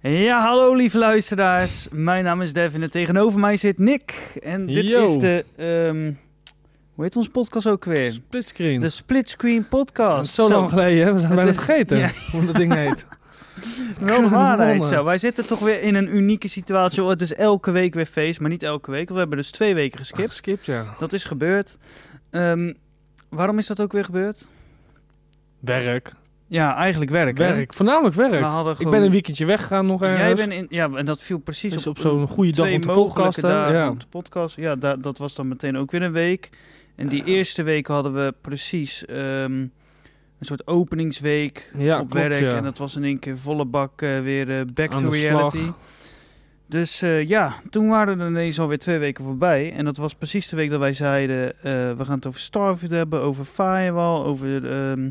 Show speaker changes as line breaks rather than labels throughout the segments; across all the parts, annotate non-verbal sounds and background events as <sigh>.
Ja, hallo lieve luisteraars. Mijn naam is Devin en tegenover mij zit Nick. En dit
Yo.
is de, ehm, hoe heet ons podcast ook weer?
Splitscreen.
De Split Screen
Dat
Podcast.
is zo lang geleden, hè? We zijn
Het
bijna
is-
vergeten
Ja.
hoe dat ding heet.
<laughs> Wel de waarheid
Gewonnen.
zo. Wij zitten toch weer in een unieke situatie. Het is elke week weer feest, maar niet elke week. want We hebben dus twee weken geskipt.
Skipt, ja.
Dat is gebeurd. Ehm, waarom is dat ook weer gebeurd?
Werk.
Ja, eigenlijk werk. hè?
Werk. Voornamelijk
We
werk.
hadden
Ik
gewoon...
ben een weekendje weggegaan nog ergens.
Jij bent in... Ja, en dat viel precies
dus
op,
op zo'n goede dag
twee
om te
mogelijke
podcasten.
dagen
Ja.
op de podcast. Ja, da- dat was dan meteen ook weer een week. En die eerste week hadden we precies ehm, een soort openingsweek
Ja,
op
klopt,
werk.
ja.
En dat was in één keer volle bak eh, weer eh, back
Aan
to
de slag.
reality. Dus eh, ja, toen waren er ineens alweer twee weken voorbij. En dat was precies de week dat wij zeiden... eh, we gaan het over Starfield hebben, over Firewall, over... ehm,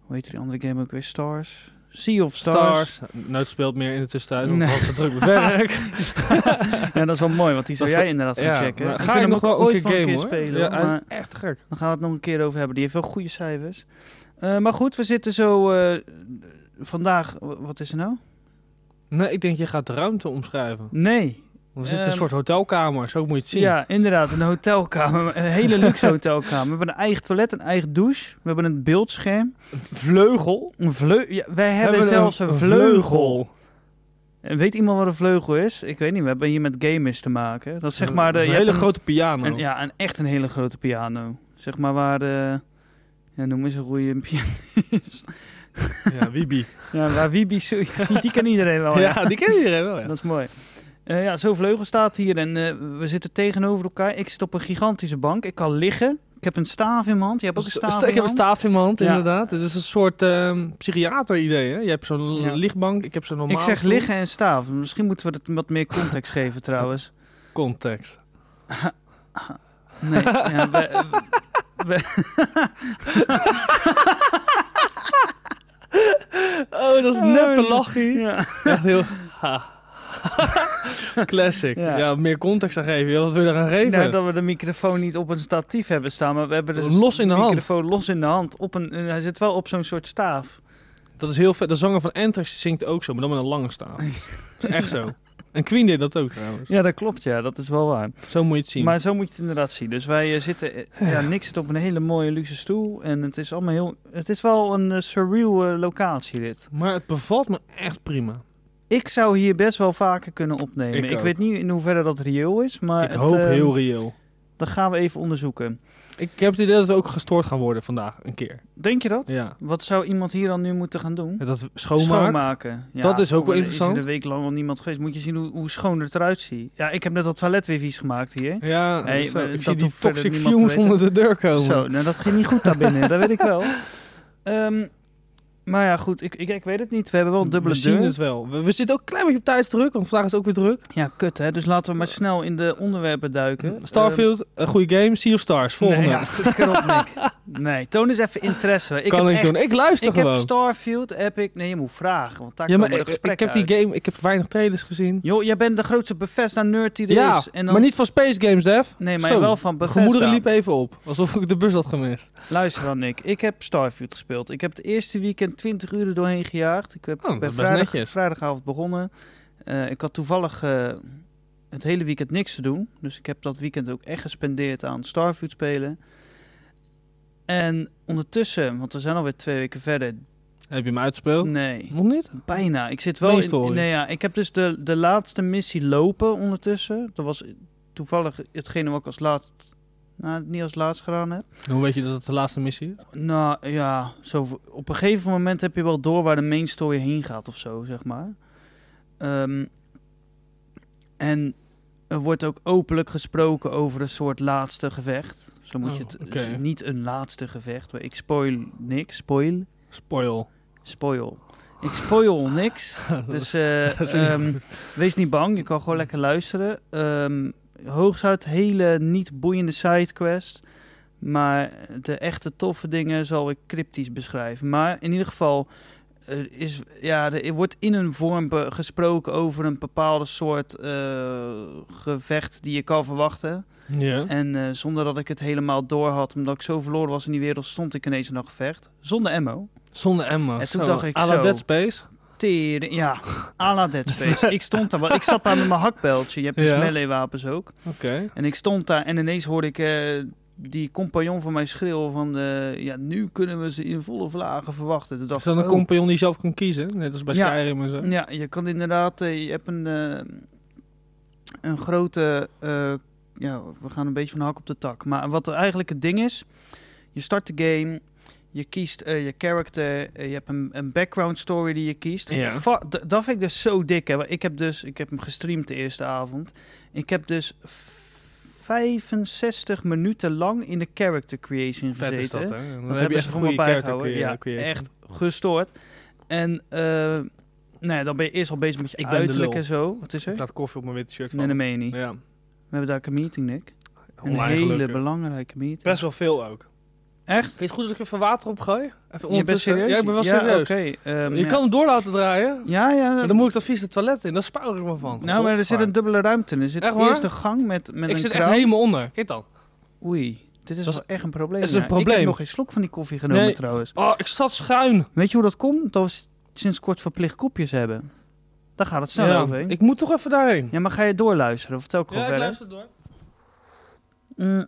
hoe heet die andere game ook weer? Stars? Sea of Stars.
Stars. Nooit speelt meer in de tussentijd, want
Nee.
het was te druk met
<laughs>
werk.
ja, dat is wel mooi, want die zou
Dat is
jij inderdaad gaan
ja,
checken.
maar
We
ga je
kunnen
nog
hem
wel
ook
ooit een keer
wel
game, hoor.
spelen.
ja, hij
maar
is echt gek.
dan gaan we het nog een keer over hebben. Die heeft wel goede cijfers. Eh, maar goed, we zitten zo eh, vandaag... w- Wat is er nou?
Nee, ik denk, je gaat de ruimte omschrijven.
Nee.
We zitten in een
Ehm,
soort hotelkamer, zo moet je het zien.
Ja, inderdaad. Een hotelkamer. Een hele
<laughs>
luxe hotelkamer. We hebben een eigen toilet, een eigen douche. We hebben een beeldscherm.
Vleugel.
Een vleu ja, wij hebben,
we
zelfs een, vleugel. En Weet iemand wat een vleugel is? Ik weet niet. We hebben hier met gamers te maken. Dat is zeg maar... De,
een
je
hele
hebt een-
grote piano.
En, ja, en echt een hele grote piano. Zeg maar waar de... Ja, noem eens een goede pianist.
<laughs> Ja, Wibi. <laughs>
Ja, waar Wiebe... Su- <laughs> Ja, die kan iedereen wel, ja.
Oh, ja, die ken iedereen wel, ja.
Dat is mooi. Eh, ja, zo'n vleugel staat hier en eh, we zitten tegenover elkaar. Ik zit op een gigantische bank. Ik kan liggen. Ik heb een staaf in mijn hand. Je hebt ook een
Sta-
staaf in
Ik heb
je
een
hand.
staaf in mijn hand,
Ja.
inderdaad. Het is een soort ehm, psychiater-idee. Hè? Je hebt zo'n
Ja.
lichtbank, ik heb zo'n normaal.
Ik zeg liggen en staaf. Misschien moeten we dat wat meer
<laughs>
context geven trouwens.
Context. <laughs>
Nee, ja, we,
Oh, dat is
Oh,
net een
ja.
lachie.
ja.
<laughs> Echt heel. Ha. <laughs> Classic.
Ja.
Ja. meer context aan geven. Ja, wat wil je eraan geven?
Nou, dat we de microfoon niet op een statief hebben staan, maar we hebben dus de
Los in de hand.
microfoon los in de hand. Op een, eh, hij zit wel op zo'n soort staaf.
Dat is heel vet. De zanger van Anthrax zingt ook zo, maar dan met een
<laughs>
lange staaf. Dat is echt zo. En Queen deed dat ook trouwens.
Ja, dat klopt, ja, dat is wel waar.
Zo moet je het zien.
Maar zo moet je het inderdaad zien. Dus wij eh, zitten, eh, ja, Nick zit op een hele mooie luxe stoel en het is allemaal heel, het is wel een eh, surreal eh, locatie dit.
Maar het bevalt me echt prima.
Ik zou hier best wel vaker kunnen opnemen.
Ik
Ik,
ook.
weet niet in hoeverre dat reëel is, maar
ik
het,
hoop
eh,
heel reëel.
dat gaan we even onderzoeken.
Ik heb het idee dat we ook gestoord gaan worden vandaag, een keer.
Denk je dat?
Ja.
Wat zou iemand hier dan nu moeten gaan doen?
Dat we schoonmaak.
Schoonmaken. Ja,
Dat is ook wel
er
interessant.
Is er een week lang al niemand geweest. Moet je zien hoe, hoe schoon het eruit ziet. Ja, ik heb net dat toilet weer vies gemaakt hier.
Ja,
Hey,
zo,
maar
ik
dat
zie die
hoeft verder
toxic
niemand te
fumes onder de deur komen.
Zo, nou dat ging niet goed daarbinnen. dat weet ik wel. <laughs> Ehm, maar ja, goed. Ik, ik, ik weet het niet. We hebben wel een dubbele
we zien
deur.
het dus wel. We, we zitten ook een klein beetje op tijdsdruk, want vandaag is het ook weer druk.
Ja, kut hè. Dus laten we maar snel in de onderwerpen duiken.
Starfield, een goede game. Sea of Stars,
Ehm,
volgende.
Nee, ja, flikker op, Nick. <laughs> Nee, toon eens even interesse. Ik
kan
heb
ik
echt,
doen. Ik luister
Ik heb
gewoon.
Starfield, Epic... Nee, je moet vragen, want daar
Ja,
komen
maar
de
ik, ik
gesprekken
heb die
uit.
game, ik heb weinig trailers gezien.
Joh, jij bent de grootste Bethesda-nerd die er
Ja,
is. dus, En dan
maar niet van Space Games, Dev.
Nee, maar
Zo,
wel van
De
Bethesda.
gemoederen liepen even op, alsof ik de bus had gemist.
Luister dan, Nick. Ik heb Starfield gespeeld. Ik heb het eerste weekend 20 uur er doorheen gejaagd. Ik heb,
Oh, dat
ben
is best
vrijdag-
netjes.
vrijdagavond begonnen. Eh, ik had toevallig eh, het hele weekend niks te doen. Dus ik heb dat weekend ook echt gespendeerd aan Starfield spelen. En ondertussen, want we zijn alweer twee weken verder.
Heb je hem uitgespeeld?
Nee,
Nog niet?
bijna. Ik zit wel
Main
in...
story.
Nee, ja, ik heb dus de, de laatste missie lopen ondertussen. Dat was toevallig hetgene wat ik als laatst... Nou, niet als laatst gedaan heb.
Hoe weet je dat het de laatste missie is?
Nou ja, zo, v- op een gegeven moment heb je wel door waar de main story heen gaat of zo, zeg maar. Ehm, en er wordt ook openlijk gesproken over een soort laatste gevecht. Zo moet
Oh,
je het
oké.
dus niet een laatste gevecht. maar Ik spoil niks. Spoil.
Spoil.
Spoil. Ik
<laughs>
spoil niks.
Dat is-
Dus eh,
dat is niet
ehm,
goed.
wees niet bang, je kan gewoon lekker luisteren. Ehm, hooguit hele niet boeiende sidequest. Maar de echte toffe dingen zal ik cryptisch beschrijven. Maar in ieder geval eh, is, ja, er wordt in een vorm be- gesproken over een bepaalde soort eh, gevecht die je kan verwachten.
Ja.
En eh, zonder dat ik het helemaal door had, omdat ik zo verloren was in die wereld, stond ik ineens in dat gevecht. Zonder ammo.
Zonder Emma.
En toen
Zo,
dacht ik
à la
zo.
Dead Space.
Tering,
<laughs>
ja, à la Dead Space. ik stond daar, wel- ik zat daar met mijn hakbeltje. Je hebt de
Ja.
smelleewapens ook.
Oké.
En ik stond daar en ineens hoorde ik eh, die compagnon van mij schreeuwen van... eh, ja, nu kunnen we ze in volle vlagen verwachten. Toen
Is
dacht
dat een
ik, oh,
compagnon die zelf kan kiezen? Net als bij
Ja.
Skyrim en zo.
Ja, je kan inderdaad... eh, je hebt een, eh, een grote... eh, ja, we gaan een beetje van de hak op de tak. Maar wat er eigenlijk het ding is... Je start de game... Je kiest eh, je character, eh, je hebt een, een background story die je kiest.
Ja.
Va- d- dat vind ik dus zo dik. Hè. Ik heb dus, ik heb hem gestreamd de eerste avond. Ik heb dus v- 65 minuten lang in de character creation
Vet
gezeten
is dat, hè? Dan
hebben
heb
ze
je echt een
gewoon
goede character
bijgehouden.
creë-
Ja,
creation.
echt. gestoord. En eh, nou ja, dan ben je eerst al bezig met je
Ik ben de
uiterlijk
lul.
en zo. Wat is er?
Ik laat koffie op mijn witte shirt van.
Nee, dat meen je niet.
Ja,
We hebben daar ook een meeting, Nick. Een
online
hele
gelukkig.
belangrijke meeting.
Oh, Best wel veel ook.
Echt?
Vind je het goed als ik even water opgooi? Even
Je bent
ondertussen.
serieus?
Ja, ik ben wel serieus.
oké. Ehm,
je
ja.
kan hem door laten draaien.
Ja, ja.
Maar dan moet ik dat vies de toilet in. Daar spaar ik me van.
nou, maar er zit een dubbele ruimte in. Er zit
Echt waar?
eerst een gang met, met
Ik
een
zit echt
kraan.
helemaal onder. Kijk dan.
Oei, dit is
Dat is-
wel echt een probleem.
dat is een
ja. Ik
probleem.
heb nog geen slok van die koffie genomen
Nee.
trouwens.
Oh, ik zat schuin.
Weet je hoe dat komt? Dat we s- sinds kort verplicht kopjes hebben. Daar gaat het snel
Ja,
overheen.
ik moet toch even daarheen.
Ja, maar ga je doorluisteren? Of vertel ik gewoon verder?
door.
Mm.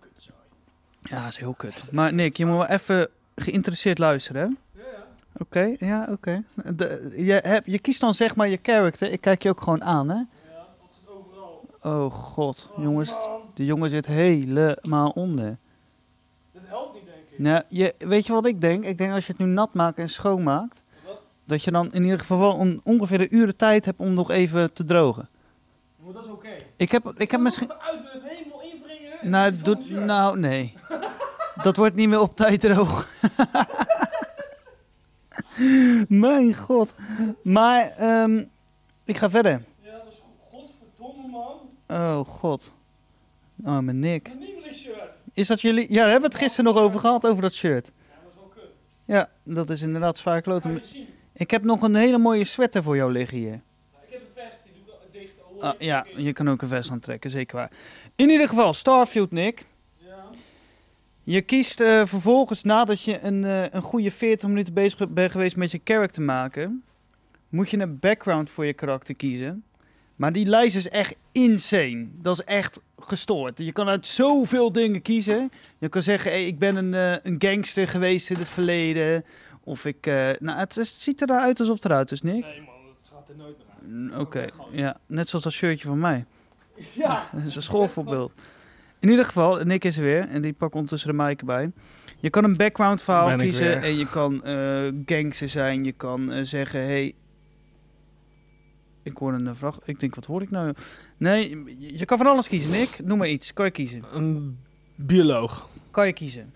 Ja, is heel kut. Maar Nick, je moet wel even geïnteresseerd luisteren. hè? Oké, ja, oké. De- Je, hebt- je kiest dan zeg maar je character. Ik kijk je ook gewoon aan, hè? Ja, dat zit overal. Oh god, jongens.
Oh,
De jongen zit helemaal onder.
Dat helpt niet, denk ik.
Nou, je, weet je wat ik denk? Ik denk als je het nu nat maakt en schoonmaakt, dat je dan in ieder geval wel een- ongeveer een uur de tijd hebt om nog even te drogen.
Maar dat is oké.
Ik heb, ik
Oh.
heb misschien.
uit met het helemaal invringen.
Nou, doet, nou, nee. Dat wordt niet meer op tijd droog. <laughs> Mijn god. Maar, ehm, ik ga verder.
Ja, dat is godverdomme, man.
Oh god. Oh, mijn nek.
Een nieuwe shirt.
Is dat jullie. Ja, daar hebben we het gisteren nog over gehad, over dat shirt.
Ja, dat is wel kut.
Ja, dat is inderdaad zwaar kloten.
zien.
Ik heb nog een hele mooie sweater voor jou liggen hier.
Ik heb een vest, die doe ik dicht.
Ah, ja, je kan ook een vest aantrekken, zeker waar. In ieder geval, Starfield, Nick. Je kiest eh, vervolgens, nadat je een, eh, een goede 40 minuten bezig ge- bent geweest met je character maken, moet je een background voor je karakter kiezen. Maar die lijst is echt insane. Dat is echt gestoord. Je kan uit zoveel dingen kiezen. Je kan zeggen, hey, ik ben een, eh, een gangster geweest in het verleden. Of ik... eh, nou, het, is- het ziet eruit alsof het eruit is, Nick.
Nee, man, dat gaat er nooit meer aan.
Mm, Oké, ja. Net zoals dat shirtje van mij.
<laughs> Ja.
<laughs> Dat is een schoolvoorbeeld. In ieder geval, Nick is er weer en die pak ondertussen de mic bij. Je kan een background verhaal
Ben ik
kiezen
weer.
en je kan eh gangster zijn. Je kan eh, zeggen, hey, ik hoor een eh, vraag. Ik denk, wat hoor ik nou? Nee, je- je kan van alles kiezen, Nick. Noem maar iets. Kan je kiezen?
Een bioloog.
Kan je kiezen?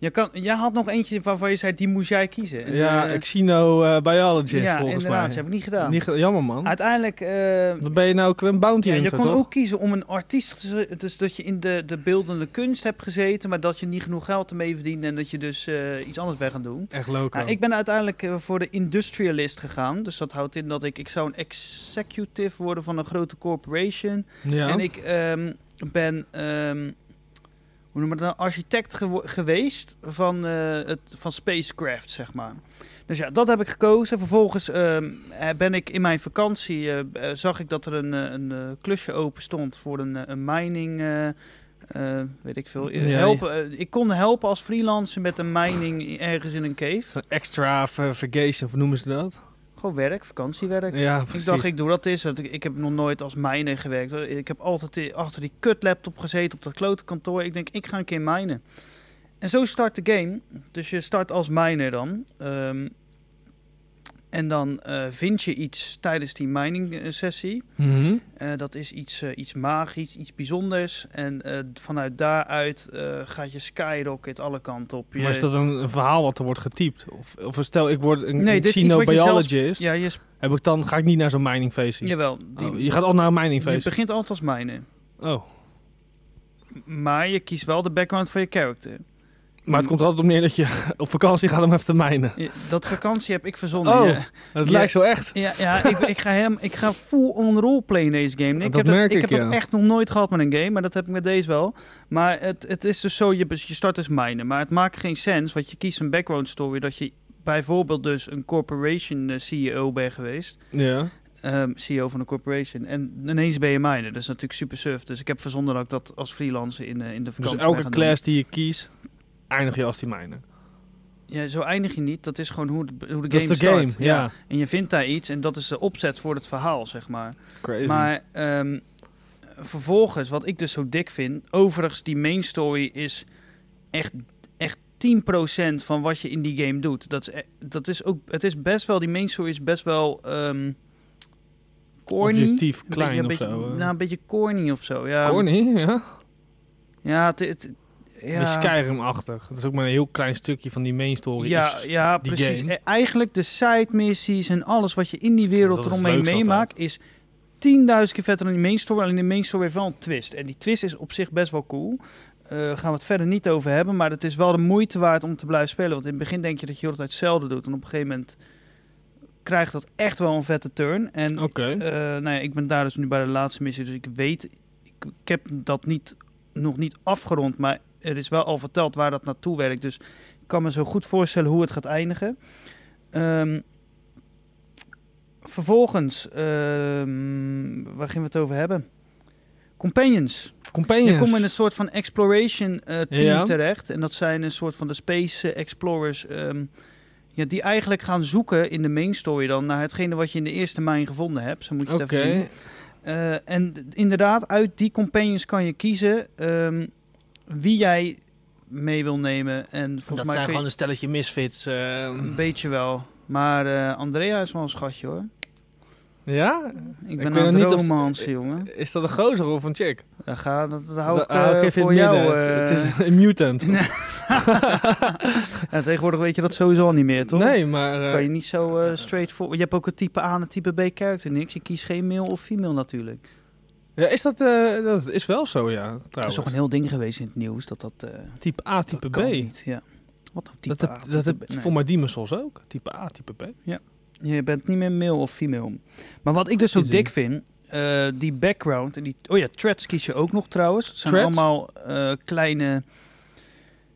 Je kan, jij had nog eentje waarvan je zei, die moest jij kiezen. En,
ja,
eh,
Exino eh, biologist,
ja,
volgens
inderdaad,
mij.
ze hebben het niet gedaan.
Niet ge- jammer, man.
Uiteindelijk... eh,
Dan ben je nou ook een bounty
Ja, je
hunter,
kon
toch?
ook kiezen om een artiest te zijn. Dus dat je in de, de beeldende kunst hebt gezeten, maar dat je niet genoeg geld ermee verdient en dat je dus eh, iets anders bent gaan doen.
Echt loco.
Nou, ik ben uiteindelijk eh, voor de industrialist gegaan. Dus dat houdt in dat ik, ik zou een executive worden van een grote corporation.
ja.
En ik ehm, ben, ehm, hoe noem je dat nou, architect gewo- geweest van, eh, het, van spacecraft, zeg maar. Dus ja, dat heb ik gekozen. Vervolgens ehm, eh, ben ik in mijn vakantie, eh, b- eh, zag ik dat er een, eh, een eh, klusje open stond voor een, eh, een mining, eh, eh, weet ik veel. eh,
Ja,
helpen, eh, ik kon helpen als freelancer met een mining ergens in een cave.
Zo'n Extra vergation, of noemen ze dat?
Gewoon werk, vakantiewerk.
Ja, precies.
Ik dacht, ik doe dat eens. want Ik, ik heb nog nooit als mijner gewerkt. Ik heb altijd i- achter die kut laptop gezeten op dat klote kantoor. Ik denk, ik ga een keer mijnen. En zo start de game. Dus je start als miner dan. Ehm, en dan eh, vind je iets tijdens die mining eh, sessie.
Mhm.
Eh, dat is iets, eh, iets magisch, iets bijzonders. En eh, vanuit daaruit eh, gaat je skyrocket alle kanten op. Je,
Maar is dat een, een verhaal wat er wordt getypt? Of, of stel, ik word een
Nee,
nee,
dit is iets wat je
xenobiologist.
ja, je, sp-
Heb ik dan, ga ik niet naar zo'n miningfeestje?
jawel. Die,
Oh, je gaat al naar een
je
miningfeestje?
begint altijd als miner.
Oh.
Maar je kiest wel de background van je character.
Maar het komt er altijd op neer dat je <laughs> op vakantie gaat om even te mijnen.
Ja, Dat vakantie heb ik verzonnen.
Oh.
Ja,
Het
Ja.
lijkt zo echt.
ja, ja ik, ik, ga hem, ik ga full on roleplay in deze game. Ik
Dat
heb
merk
dat,
ik,
heb dat
ja.
echt nog nooit gehad met een game, maar dat heb ik met deze wel. Maar het, het is dus zo, je, bes- je start als miner, maar het maakt geen sens, want je kiest een background story dat je bijvoorbeeld dus een corporation eh, CEO ben geweest,
Ja.
ehm, CEO van een corporation, en ineens ben je miner, dat is natuurlijk super surf. Dus ik heb verzonnen dat ik dat als freelancer in, eh, in de
Dus
vakantie ben
elke
gaan
class die je kiest, eindig je als die mijne.
doen. Ja, zo eindig je niet, dat is gewoon hoe de, hoe de
Dat
game
is de game,
start.
ja.
En je vindt daar iets en dat is de opzet voor het verhaal, zeg maar.
Crazy.
Maar ehm, vervolgens, wat ik dus zo dik vind. Overigens, die main story is echt, echt 10% van wat je in die game doet. Dat is, e- dat is ook. Het is best wel. Die main story is best wel. ehm corny.
Objectief
Een
klein
beetje-
of
een beetje,
zo. eh.
Nou, een beetje corny of zo. Ja,
Corny, ja.
Ja, het. het ja.
Een beetje Skyrim-achtig. Dat is ook maar een heel klein stukje van die main story.
Ja,
is-
ja,
die
precies.
game.
E- Eigenlijk de side missies en alles wat je in die wereld
dat is het
eromheen
leukste
meemaakt is 10.000 keer vetter dan die main story. Alleen de main story heeft wel een twist. En die twist is op zich best wel cool. Eh gaan we het verder niet over hebben, maar het is wel de moeite waard om te blijven spelen. Want in het begin denk je dat je heel de tijd hetzelfde doet. En op een gegeven moment krijgt dat echt wel een vette turn. En
Oké.
eh, nou ja, ik ben daar dus nu bij de laatste missie, dus ik weet, ik, ik heb dat niet, nog niet afgerond, maar er is wel al verteld waar dat naartoe werkt. Dus ik kan me zo goed voorstellen hoe het gaat eindigen. Ehm, vervolgens, ehm, waar gingen we het over hebben? Companions.
Companions.
Je komt in een soort van exploration eh, team
Ja.
terecht. En dat zijn een soort van de space eh, explorers. ehm, ja, die eigenlijk gaan zoeken in de main story dan naar hetgene wat je in de eerste mijn gevonden hebt. Zo moet je
Oké.
het even zien. Eh, en d- inderdaad, uit die companions kan je kiezen ehm, wie jij mee wil nemen. En volgens
Dat
mij
zijn
kun je-
gewoon een stelletje misfits. eh.
een beetje wel. Maar eh, Andrea is wel een schatje hoor.
Ja?
Ik
weet
ben
nog
aan
niet
het
of-
romansen, jongen.
Is dat een gozer of een chick?
Dan ga, dat, dat hou
Dat
ik eh,
hou even in
voor
het
jou.
midden.
eh.
Het is een
<laughs>
mutant.
Nee, <laughs> Ja, tegenwoordig weet je dat sowieso al niet meer, toch?
Nee, maar... eh,
Kan je niet zo eh straight voor. Je hebt ook een type A en een type B character, niks. Je kiest geen male of female natuurlijk.
ja, is dat, eh, dat is wel zo, ja,
Dat is
trouwens.
toch een heel ding geweest in het nieuws dat dat. eh,
Type A,
dat
type B.
kan niet, Ja. Wat nou type
dat heb,
A?
dat heb
type B? Nee.
voor mijn Dimensions ook. Type A, type B.
Je bent niet meer male of female. Maar wat ik dus zo
Easy.
dik vind, eh, die background en die. Oh ja, threads kies je ook nog trouwens. Het zijn
Threads?
allemaal eh, kleine.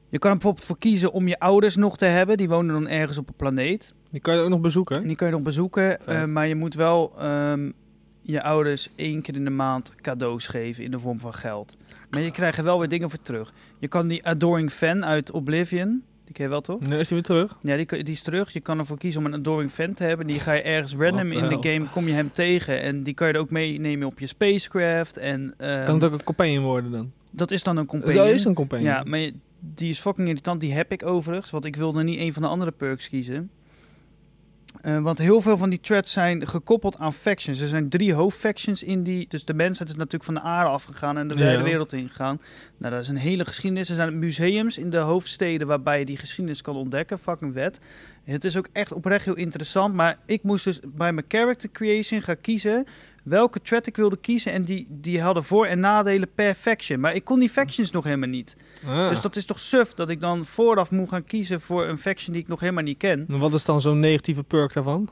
Je kan er bijvoorbeeld voor kiezen om je ouders nog te hebben. Die wonen dan ergens op een planeet.
Die kan je ook nog
En
bezoeken.
die kan je nog bezoeken,
Vet.
eh, maar je moet wel ehm, je ouders één keer in de maand cadeaus geven in de vorm van geld. Maar je krijgt er wel weer dingen voor terug. Je kan die Adoring Fan uit Oblivion, die ken je wel toch?
Nee, is die weer terug?
Ja, die, kun- die is terug. Je kan ervoor kiezen om een Adoring Fan te hebben. Die ga je ergens random
What the
in de
hell?
game, kom je hem tegen. En die kan je er ook meenemen op je spacecraft. En ehm,
Kan het ook een companion worden dan?
dat is dan een companion.
Dat is een companion.
Ja, maar je- die is fucking irritant. Die heb ik overigens, want ik wilde niet een van de andere perks kiezen. Eh, want heel veel van die threads zijn gekoppeld aan factions. Er zijn drie hoofdfactions in die... Dus de mensheid is natuurlijk van de aarde afgegaan en de
Ja.
wijde wereld ingegaan. Nou, dat is een hele geschiedenis. Er zijn museums in de hoofdsteden waarbij je die geschiedenis kan ontdekken. Fucking vet. Het is ook echt oprecht heel interessant. Maar ik moest dus bij mijn character creation gaan kiezen... welke thread ik wilde kiezen. En die, die hadden voor- en nadelen per faction. Maar ik kon die factions nog helemaal niet.
Ah.
Dus dat is toch suf dat ik dan vooraf moet gaan kiezen voor een faction die ik nog helemaal niet ken.
En Wat is dan zo'n negatieve perk daarvan?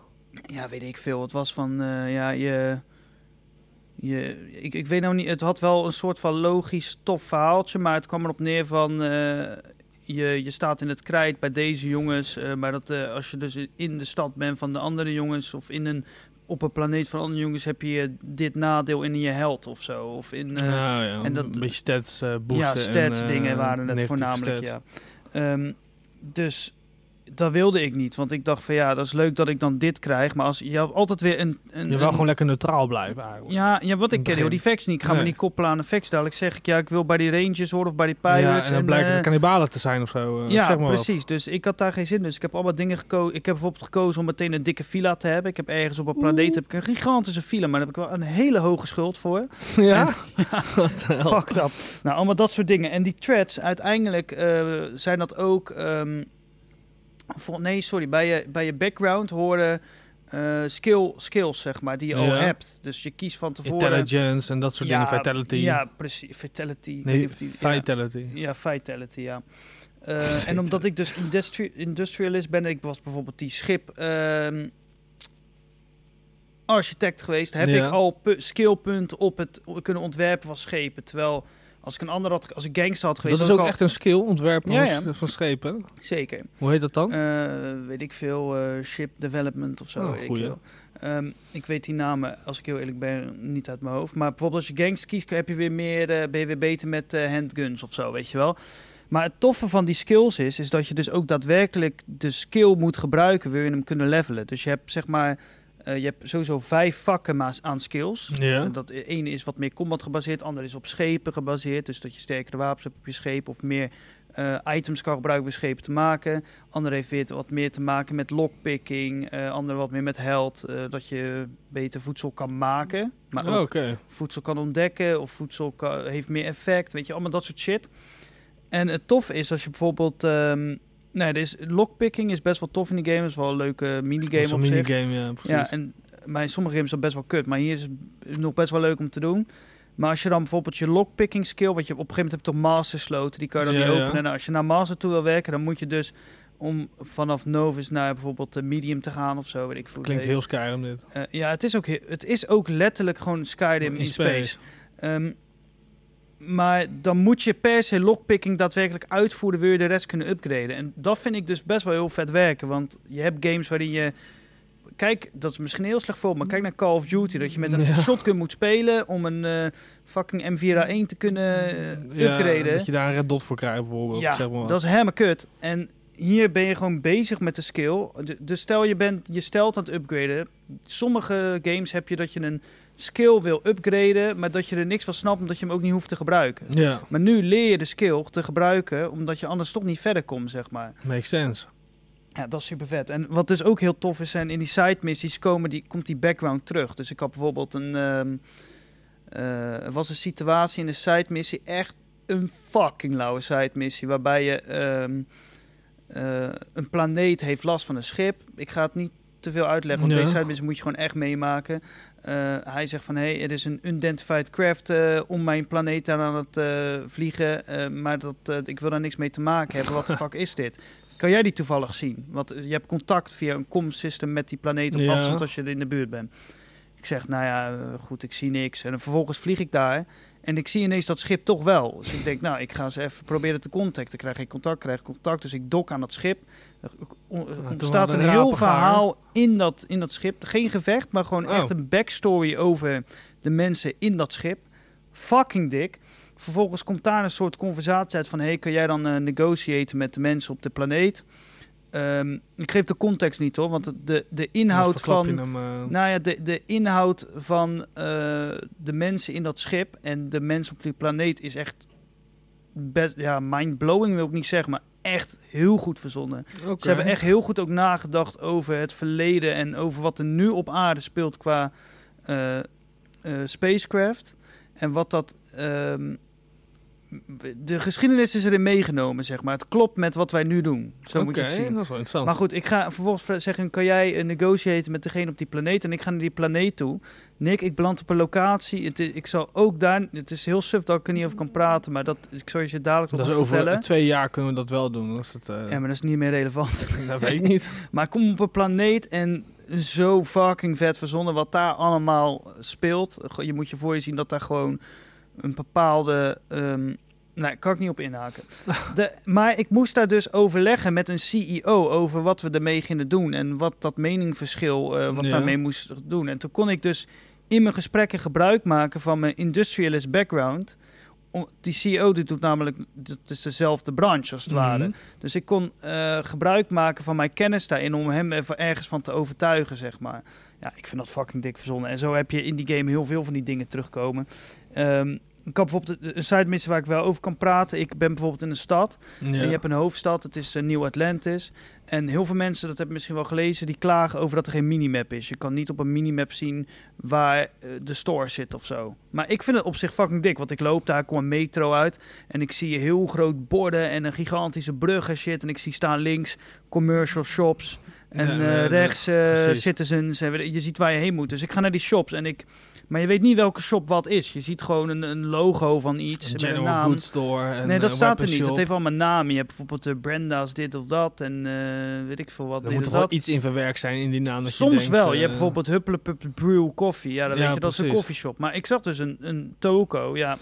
Ja, weet ik veel. Het was van, eh, ja, je... je ik, ik weet nou niet, het had wel een soort van logisch tof verhaaltje, maar het kwam erop neer van... eh, je, je staat in het krijt bij deze jongens, eh, maar dat, eh, als je dus in de stad bent van de andere jongens of in een, op een planeet van andere jongens heb je eh, dit nadeel in je held of zo. Of in, eh,
nou ja,
en dat-
een beetje stats eh, boosten.
Ja, stats
en, eh,
dingen waren het
negatieve
voornamelijk,
stats.
ja. Ehm, dus dat wilde ik niet, want ik dacht van ja, dat is leuk dat ik dan dit krijg, maar als je hebt altijd weer een... een
Je
een-
wil gewoon lekker neutraal blijven eigenlijk.
ja, ja, wat
In
ik ken, joh,
het begin.
die facts niet. Ik ga me
Nee.
niet koppelen aan de facts. Dadelijk zeg ik, ja, ik wil bij die Rangers horen of bij die
Ja,
Pirates.
en dan blijkt
eh,
het een kannibalen te zijn of zo. eh,
ja,
zeg maar wat.
precies. Dus ik had daar geen zin in. Dus ik heb allemaal dingen gekozen. Ik heb bijvoorbeeld gekozen om meteen een dikke villa te hebben. Ik heb ergens op een planeet heb ik een gigantische villa, maar daar heb ik wel een hele hoge schuld voor.
<laughs> ja?
<laughs> Fuck dat. Nou, allemaal dat soort dingen. En die threads, uiteindelijk eh, zijn dat ook. ehm, vol- nee, sorry. Bij je, bij je background horen eh, skill, skills, zeg maar, die je al
Ja.
hebt. Dus je kiest van tevoren.
Intelligence en dat soort dingen. Vitality.
eh, Ja, precies. Vitality. Ik weet
nee,
niet of die- ja.
vitality.
Ja, Vitality, ja. Eh, en omdat ik dus industri- industrialist ben, ik was bijvoorbeeld die schip ehm, architect geweest, heb
Ja.
ik al pu- skillpunten op het kunnen ontwerpen van schepen. Terwijl Als ik een ander had, als ik gangster had geweest...
Dat
had
is ook
ik al-
echt een skill, ontwerpen
Ja,
van-
ja.
van schepen.
Zeker.
Hoe heet dat dan?
Eh, weet ik veel, eh, ship development of zo.
Oh,
weet ik,
goeie.
veel. Ehm, ik weet die namen, als ik heel eerlijk ben, niet uit mijn hoofd. Maar bijvoorbeeld als je gangs kiest, heb je weer meer, eh, ben je weer beter met eh, handguns of zo, weet je wel. Maar het toffe van die skills is, is dat je dus ook daadwerkelijk de skill moet gebruiken, wil je hem kunnen levelen. Dus je hebt zeg maar, eh, je hebt sowieso vijf vakken ma- aan skills.
Ja.
En Dat e- ene is wat meer combat gebaseerd, ander is op schepen gebaseerd. Dus dat je sterkere wapens hebt op je scheep of meer eh, items kan gebruiken om je schepen te maken. Ander heeft weer te- wat meer te maken met lockpicking. eh, ander wat meer met held. eh, dat je beter voedsel kan maken. Maar
Oh, Oké.
ook voedsel kan ontdekken of voedsel ka- heeft meer effect. Weet je, allemaal dat soort shit. En het tof is als je bijvoorbeeld... ehm nou, dus lockpicking is best wel tof in die game. Dat is wel een leuke minigame
Dat is een
op zich.
minigame, ja, precies.
Ja, en bij sommige games is dat best wel kut, maar hier is het nog best wel leuk om te doen. Maar als je dan bijvoorbeeld je lockpicking skill, wat je op een gegeven moment hebt toch master sloten, die kan je dan
Ja,
niet
ja.
openen. En als je naar master toe wil werken, dan moet je dus om vanaf novice naar bijvoorbeeld eh, medium te gaan of zo, weet ik veel. hoe het
Klinkt
heet.
heel Skyrim dit.
Eh, ja, het is, ook, he- het is ook letterlijk gewoon Skyrim in space. Ehm, maar dan moet je per se lockpicking daadwerkelijk uitvoeren, wil je de rest kunnen upgraden. En dat vind ik dus best wel heel vet werken, want je hebt games waarin je... Kijk, dat is misschien een heel slecht voorbeeld, maar kijk naar Call of Duty. Dat je met een
Ja.
shotgun moet spelen om een eh, fucking M4A1 te kunnen eh,
Ja,
upgraden.
dat je daar een red dot voor krijgt bijvoorbeeld.
Ja,
zeg maar. wat.
dat is helemaal kut. En hier ben je gewoon bezig met de skill. D- Dus stel je bent je stelt aan het upgraden. Sommige games heb je dat je een skill wil upgraden, maar dat je er niks van snapt omdat je hem ook niet hoeft te gebruiken.
Ja,
Maar nu leer je de skill te gebruiken, omdat je anders toch niet verder komt, zeg maar.
makes sense.
Ja, dat is super vet. En wat dus ook heel tof is, zijn in die side missies komen die, komt die background terug. Dus ik had bijvoorbeeld een. ehm, eh, er was een situatie in de side missie, echt een fucking lauwe side missie, waarbij je ehm, eh, een planeet heeft last van een schip. Ik ga het niet te veel uitleggen, want
Ja.
deze side missie moet je gewoon echt meemaken. Eh, hij zegt van, hey, er is een unidentified craft eh, om mijn planeet aan het eh, vliegen, eh, maar dat, eh, ik wil daar niks mee te maken hebben. Wat de fuck is dit? Kan jij die toevallig zien? Want eh, je hebt contact via een com-system met die planeet op
Ja.
afstand als je er in de buurt bent. Ik zeg, nou ja, eh, goed, ik zie niks. En dan vervolgens vlieg ik daar en ik zie ineens dat schip toch wel. Dus ik denk, nou, ik ga ze even proberen te contacten. Krijg ik contact, krijg ik contact. Dus ik dok aan dat schip. Er on-
Ah, toen
ontstaat
hadden
een
we
heel
rapengaar.
verhaal in dat, in dat schip. Geen gevecht, maar gewoon
Oh.
echt een backstory over de mensen in dat schip. Fucking dik. Vervolgens komt daar een soort conversatie uit van... hey, kan jij dan eh negotiëten met de mensen op de planeet? Ehm, ik geef de context niet hoor, want de, de inhoud
Anders verklap
van...
je hem, eh,
Nou ja, de, de inhoud van eh, de mensen in dat schip en de mensen op die planeet is echt... Best, ja, mind-blowing wil ik niet zeggen, maar echt heel goed verzonnen.
oké.
Ze hebben echt heel goed ook nagedacht over het verleden en over wat er nu op aarde speelt qua eh, eh, spacecraft. En wat dat. ehm, de geschiedenis is erin meegenomen, zeg maar. Het klopt met wat wij nu doen. Zo moet je het
Oké,
zien.
Dat is wel interessant.
Maar goed, ik ga vervolgens vra- zeggen: kan jij eh, negotiaten met degene op die planeet? En ik ga naar die planeet toe. Nick, ik beland op een locatie. Het is, ik zal ook daar. Het is heel suf dat ik er niet over kan praten, maar dat, ik zal je ze dadelijk
dat
nog
is
over
over
vertellen.
twee jaar kunnen we dat wel doen. Dat, is het, eh,
Ja, maar dat is niet meer relevant.
<laughs> dat weet
<laughs>
ik niet.
Maar ik kom op een planeet en zo fucking vet verzonnen wat daar allemaal speelt. Go- Je moet je voor je zien dat daar gewoon een bepaalde... ehm nee, kan ik niet op
<laughs>
inhaken. De, maar ik moest daar dus overleggen met een CEO over wat we ermee gingen doen. En wat dat meningverschil, eh, wat
Ja.
daarmee moest doen. En toen kon ik dus in mijn gesprekken gebruik maken van mijn industrialist background. Om- Die CEO die doet namelijk, dat is dezelfde branche als het ware.
Mhm.
Dus ik kon eh, gebruik maken van mijn kennis daarin om hem even ergens van te overtuigen, zeg maar. Ja, ik vind dat fucking dik verzonnen. En zo heb je in die game heel veel van die dingen terugkomen. Ehm, ik had bijvoorbeeld een- een side mission waar ik wel over kan praten. Ik ben bijvoorbeeld in een stad.
Ja.
En je hebt een hoofdstad, het is eh, Nieuw Atlantis. En heel veel mensen, dat hebben misschien wel gelezen, die klagen over dat er geen minimap is. Je kan niet op een minimap zien waar eh, de store zit of zo. Maar ik vind het op zich fucking dik, want ik loop daar, kom een metro uit en ik zie heel groot borden en een gigantische brug en shit. En ik zie staan links commercial shops en
Ja,
eh,
ja, ja,
rechts eh,
precies.
citizens. En weet ik- je ziet waar je heen moet. Dus ik ga naar die shops en ik... Maar je weet niet welke shop wat is. Je ziet gewoon een, een logo van iets met een
General
naam.
Goods Store. En,
Nee, dat
eh,
staat er
weapon
niet.
shop.
Dat heeft allemaal namen. Je hebt bijvoorbeeld de Brenda's dit of dat en eh, weet ik veel wat.
Er
dit
moet
of
toch wel
dat.
iets in verwerkt zijn in die naam. dat je
Soms
denkt,
wel.
eh,
Je hebt bijvoorbeeld Huppelepup Brew Coffee. Ja, dan
Ja,
weet je, dat is een
precies.
koffieshop. Maar ik zag dus een, een toko, ja...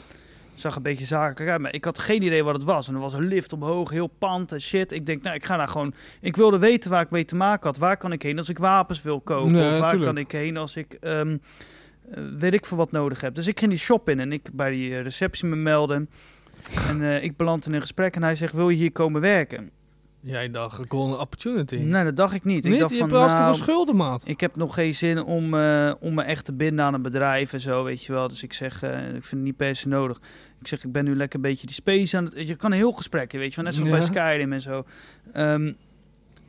zag een beetje zakelijk uit, maar ik had geen idee wat het was. En er was een lift omhoog, heel pand en shit. Ik denk, nou, ik ga daar gewoon... Ik wilde weten waar ik mee te maken had. Waar kan ik heen als ik wapens wil kopen?
Ja,
of waar
tuurlijk.
kan ik heen als ik... ehm, eh, weet ik voor wat nodig heb. Dus ik ging die shop in en ik bij die eh, receptie me melden. En eh, ik beland in een gesprek en hij zegt, wil je hier komen werken?
Jij dacht, golden opportunity.
Nee, dat dacht ik niet. Ik
Niet?
dacht
je
van,
hebt hartstikke
nou,
veel schulden, maat.
ik heb nog geen zin om, eh, om me echt te binden aan een bedrijf en zo, weet je wel. Dus ik zeg, eh, ik vind het niet per se nodig. Ik zeg, ik ben nu lekker een beetje die space aan het... Je kan een heel gesprek, in, weet je wel. Net zoals bij
Ja.
Skyrim en zo. Ehm,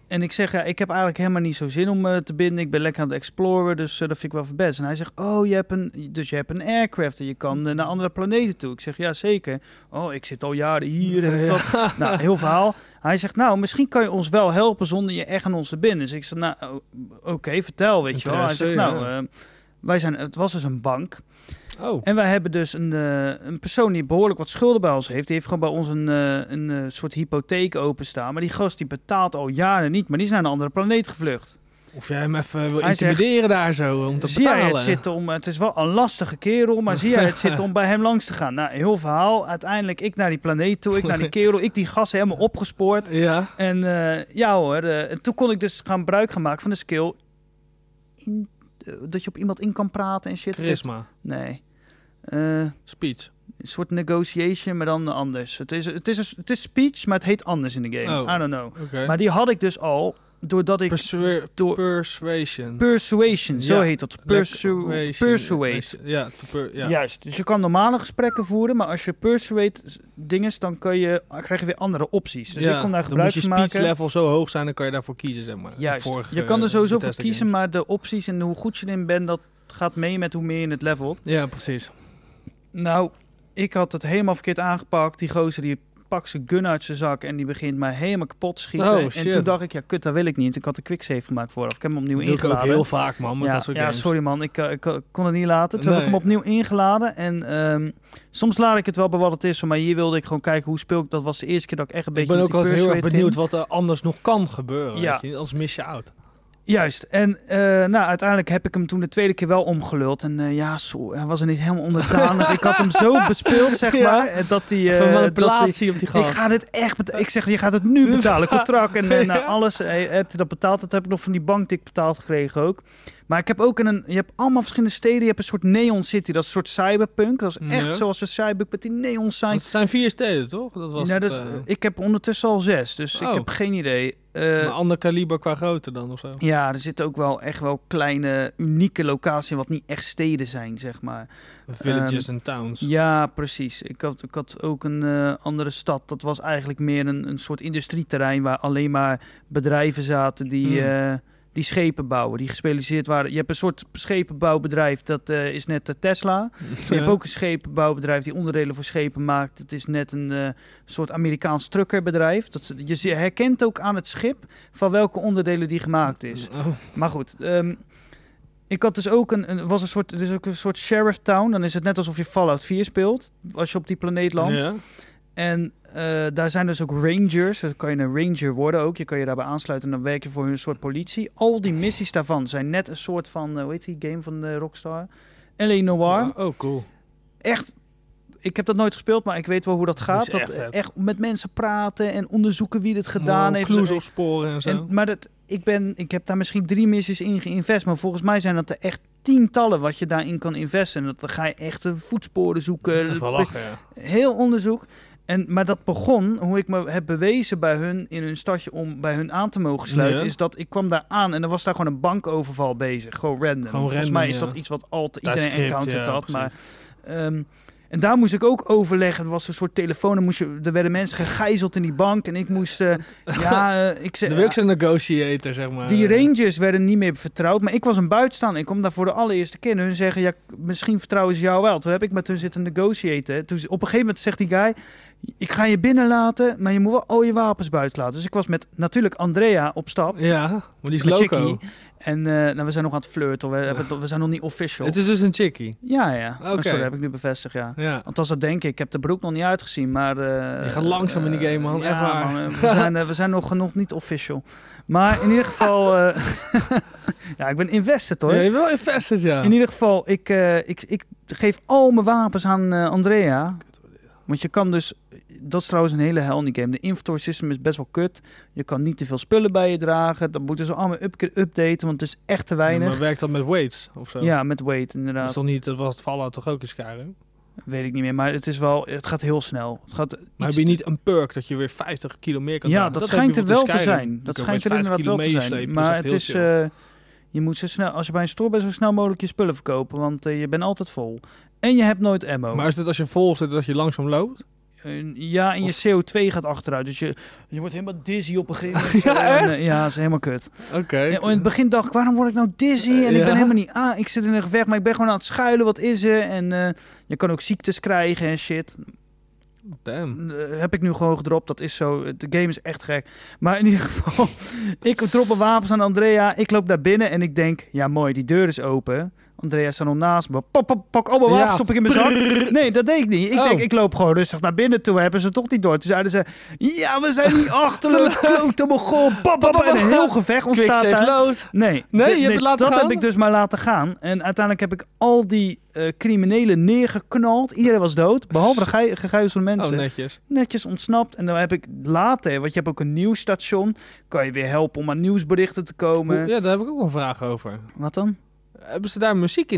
en ik zeg, ja, ik heb eigenlijk helemaal niet zo zin om me te binden. Ik ben lekker aan het exploren, dus eh, dat vind ik wel voor best. En hij zegt, oh, je hebt een, dus je hebt een aircraft en je kan eh, naar andere planeten toe. Ik zeg, ja, zeker. Oh, ik zit al jaren hier en dat. <laughs> Nou, heel verhaal. Hij zegt, nou, misschien kan je ons wel helpen zonder je echt aan onze binnen. Dus ik zeg, nou, o- oké, vertel, weet je wel. Hij zegt,
Interesse,
nou,
ja.
eh, wij zijn, het was dus een bank.
<laughs> Oh,
En wij hebben dus een, eh, een persoon die behoorlijk wat schulden bij ons heeft. Die heeft gewoon bij ons een, eh, een eh, soort hypotheek openstaan. Maar die gast die betaalt al jaren niet, maar die is naar een andere planeet gevlucht.
of jij hem even wil
Hij zegt-
intimideren daar zo, om te
zie jij het
betalen.
zitten om, het is wel een lastige kerel, maar zie jij
<laughs>
het zitten om bij hem langs te gaan? Nou, heel verhaal. Uiteindelijk ik naar die planeet toe, ik naar die kerel, ik die gast helemaal opgespoord.
Ja.
En eh, ja hoor, eh, en toen kon ik dus gaan gebruik gaan maken van de skill. in- eh, dat je op iemand in kan praten en shit.
Charisma.
Nee. Eh,
Speech.
een soort negotiation, maar dan anders. Het is, het, is een, het is speech, maar het heet anders in de game.
Oh.
I don't know.
Oké.
Maar die had ik dus al, doordat ik...
Persua-
door-
Persuasion.
persuasion, zo
Ja.
heet dat. Persu
Persuasion.
persuade.
Ja, te per- ja.
Juist, dus je kan normale gesprekken voeren, maar als je persuade dinges, dan kan je, krijg je weer andere opties. Dus
Ja,
ik kon daar
dan
gebruik
moet je
van
speech
maken.
level zo hoog zijn, dan kan je daarvoor kiezen, zeg maar. De
Juist.
vorige,
je kan er
eh,
sowieso voor
Bethesda
kiezen, maar de opties en hoe goed je erin bent, dat gaat mee met hoe meer je het levelt.
games. Ja, precies.
Nou, ik had het helemaal verkeerd aangepakt. Die gozer die pakt zijn gun uit zijn zak en die begint mij helemaal kapot te schieten.
Oh,
en
shit.
toen dacht ik, ja kut, dat wil ik niet. Ik had een quicksave gemaakt vooraf. Ik heb hem opnieuw
Doe ik ook
ingeladen.
heel vaak, man, met
ja,
dat soort
ja,
games.
sorry man, ik, eh, ik, eh, kon het niet laten. Toen heb ik
Nee.
hem opnieuw ingeladen. En ehm, soms laat ik het wel bij wat het is, maar hier wilde ik gewoon kijken hoe speel ik. Dat was de eerste keer dat ik echt een
Ik
beetje
ben
met
ook
die
altijd heel erg
persuade
benieuwd
ging.
wat er anders nog kan gebeuren.
Ja.
Weet je? Anders mis je out.
Juist. En eh, nou, uiteindelijk heb ik hem toen de tweede keer wel omgeluld. En eh, ja, zo, hij was er niet helemaal onderdanig. ik had hem
<laughs>
zo bespeeld, zeg
Ja.
maar, eh, dat hij... eh,
Van
dat
wel
hij-
een plaatsie op die
ik
gast.
ga dit echt bet- Ik zeg, je gaat het nu
<laughs>
betalen. Contract en eh, nou,
Ja.
alles. Hij heeft dat betaald. Dat heb ik nog van die bank dik betaald gekregen ook. Maar ik heb ook in een... Je hebt allemaal verschillende steden. Je hebt een soort Neon City. Dat is een soort cyberpunk. Dat is echt
Ja.
zoals de cyberpunk met die neon
Want
signs.
het zijn vier steden, toch? Dat was
Nou, dat
het,
is-
eh,
ik heb ondertussen al zes. Dus ik
Oh.
heb geen idee. Eh,
een ander kaliber qua grootte dan, of zo.
ja, er zitten ook wel echt wel kleine, unieke locaties in wat niet echt steden zijn, zeg maar.
Villages en towns.
Ehm, Ja, precies. Ik had, ik had ook een eh, andere stad. Dat was eigenlijk meer een, een soort industrieterrein waar alleen maar bedrijven zaten die,
Hmm.
eh, die schepen bouwen, die gespecialiseerd waren. Je hebt een soort schepenbouwbedrijf, dat eh, is net de Tesla. Je hebt ook een schepenbouwbedrijf die onderdelen voor schepen maakt. Het is net een eh, soort Amerikaans truckerbedrijf. Dat, ze- je zie- herkent ook aan het schip van welke onderdelen die gemaakt is.
Oh,
Maar goed, ehm, ik had dus ook een, een was een soort, er is ook een soort sheriff town. Dan is het net alsof je Fallout 4 speelt als je op die planeet landt.
ja.
En eh, daar zijn dus ook rangers. Dan kan je een ranger worden ook. Je kan je daarbij aansluiten en dan werk je voor hun soort politie. Al die missies daarvan zijn net een soort van, eh, hoe heet die game van eh, Rockstar? L.A. Noir
Ja, Oh, cool.
echt. Ik heb dat nooit gespeeld, maar ik weet wel hoe dat gaat.
is
Dat
echt
echt,
vet.
met mensen praten en onderzoeken wie dit gedaan
Allemaal
heeft.
Clues opsporen en zo.
en, maar dat, ik, ben, ik heb daar misschien drie missies in geïnvest. Maar volgens mij zijn dat er echt tientallen wat je daarin kan investen. En dat, dan ga je echt eh, voetsporen zoeken.
dat is wel lachen, ja.
Heel onderzoek. En, maar dat begon, hoe ik me heb bewezen bij hun in hun stadje om bij hun aan te mogen sluiten,
Ja.
is dat ik kwam daar aan en er was daar gewoon een bankoverval bezig. Gewoon random.
Gewoon
Volgens
random,
mij is
ja.
dat iets wat altijd
Dat is
iedereen
script,
encountert
ja,
dat.
precies.
Maar, ehm, en daar moest ik ook overleggen. Er was een soort telefoon. en Moest je, er werden mensen gegijzeld in die bank. En ik moest.
<laughs>
eh, ja, eh, ik
De
zei.
Wux negotiator, zeg maar.
Die rangers werden niet meer vertrouwd, maar ik was een buitenstaander. Ik kom daar voor de allereerste keer en hun zeggen, ja, k- misschien vertrouwen ze jou wel. Toen heb ik met hun zitten negotiëren. Toen, ze- op een gegeven moment zegt die guy, ik ga je binnenlaten, maar je moet wel al je wapens buiten laten. Dus ik was met natuurlijk Andrea op stap.
Ja, maar die is
Met
loco.
Chickie. En eh, nou, we zijn nog aan het flirten, we, hebben het- we zijn nog niet official.
Het is dus een chickie.
Ja, ja. Maar
Oké.
Sorry, dat heb ik nu bevestigd, ja.
Ja.
Althans, dat denk ik. Ik heb de broek nog niet uitgezien, maar... eh,
Je gaat langzaam in die game, man.
eh,
Echt waar.
man,
<laughs>
eh, we, zijn, eh, we zijn nog, nog niet official. Maar in ieder geval... eh, <laughs> ja, ik ben invested, hoor.
Ja, je wil invested, ja.
In ieder geval, ik, eh, ik, ik geef al mijn wapens aan eh, Andrea. Want je kan dus, dat is trouwens een hele hel in die game. De inventory system is best wel kut. Je kan niet te veel spullen bij je dragen. Dan moeten ze allemaal upke- updaten, want het is echt te weinig.
Maar werkt dat met weights of zo?
Ja, met weight
Dat
inderdaad.
is toch niet, dat was het Fallout toch ook eens Skyrim?
Weet ik niet meer, maar het is wel, het gaat heel snel. Het gaat
Maar
iets
heb je
te-
niet een perk dat je weer 50 kilo meer kan
Ja,
dragen?
dat,
heb je
schijnt er wel te
bijvoorbeeld in Skyrim.
zijn.
Je
Dat
kan
schijnt er
met 50
inderdaad wel te
kilo
zijn.
meeslepen, dus
Maar
dat
het
is
is,
echt heel
eh, je moet zo snel, als je bij een store bent, zo snel mogelijk je spullen verkopen, want eh, je bent altijd vol. En je hebt nooit ammo.
chill. Maar is het als je vol zit dat je langzaam loopt?
Eh, ja, en je
Of-
CO2 gaat achteruit, dus je, je wordt helemaal dizzy op een
<laughs>
gegeven moment. ja, ja, dat is helemaal kut.
Oké.
Ja, in het begin dacht ik, waarom word ik nou dizzy? En ik
Ja.
ben helemaal niet aan. Ik zit in een gevecht, maar ik ben gewoon aan het schuilen. Wat is er? En eh, je kan ook ziektes krijgen en shit.
Damn.
Eh, heb ik nu gewoon gedropt. Dat is zo. De game is echt gek. Maar in ieder geval, <laughs> ik drop mijn wapens aan Andrea. Ik loop daar binnen en ik denk, ja mooi, die deur is open. Andrea staat nog naast me. Pop, pop, pak al mijn wapens,
Ja,
stop ik in mijn zak. Nee, dat deed ik niet. Ik
Oh.
denk, ik loop gewoon rustig naar binnen toe. Hebben ze toch niet door. Toen zeiden ze, ja, we zijn
<laughs>
niet achterlijk. Klote Mongool. Pop, pop,
pop,
en een
pop.
heel gevecht
Quick
ontstaat
save
daar. <laughs>
load.
Nee,
Nee,
d-
je hebt het laten
dat
gaan?
heb ik dus maar laten gaan. En uiteindelijk heb ik al die eh, criminelen neergeknald. Iedereen was dood, behalve de gei- gegijzelde
Oh,
mensen.
netjes.
Netjes ontsnapt. En dan heb ik later, want je hebt ook een nieuwsstation. Kan je weer helpen om aan nieuwsberichten te komen.
Hoe- Ja, daar heb ik ook wel een vraag over.
Wat dan?
eh, eh,
ehm,
eh, Oh.
dus nou, eh,
Oh, eh.
eh, eh,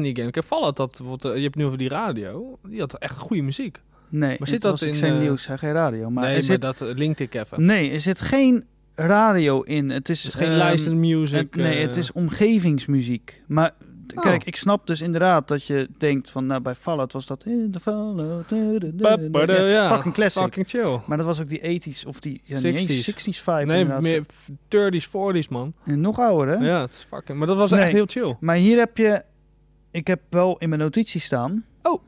ehm, eh, eh, eh, nou eh,
Oh.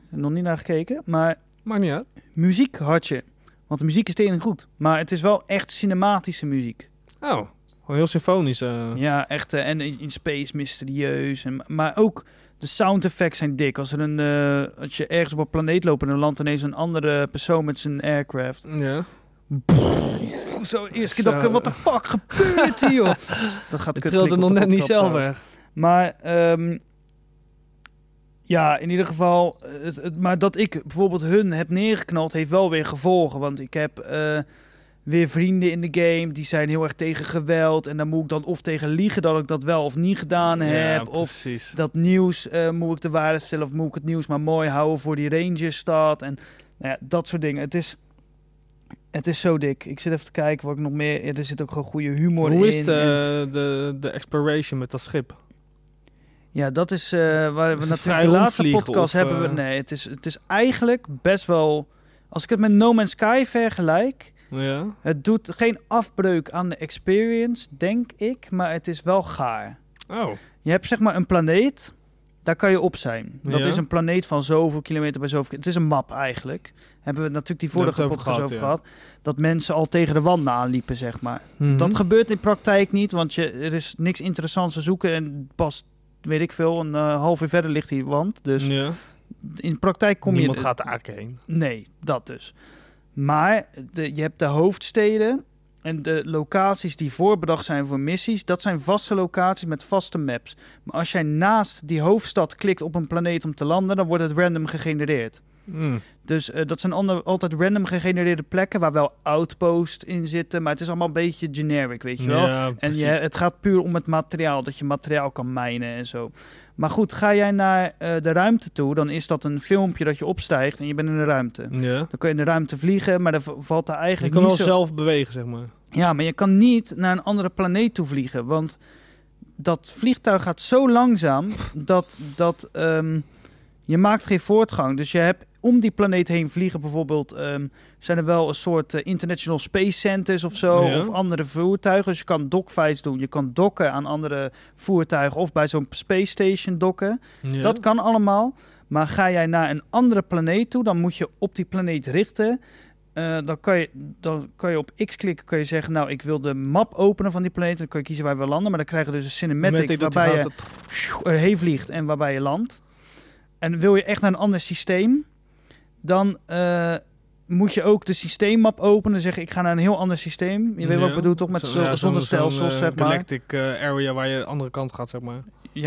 eh, Dus dus. Dus, eh, eh, ehm, Dus ehm, eh, Dus Eh, nou, dus eh, ja, je
Mhm. eh,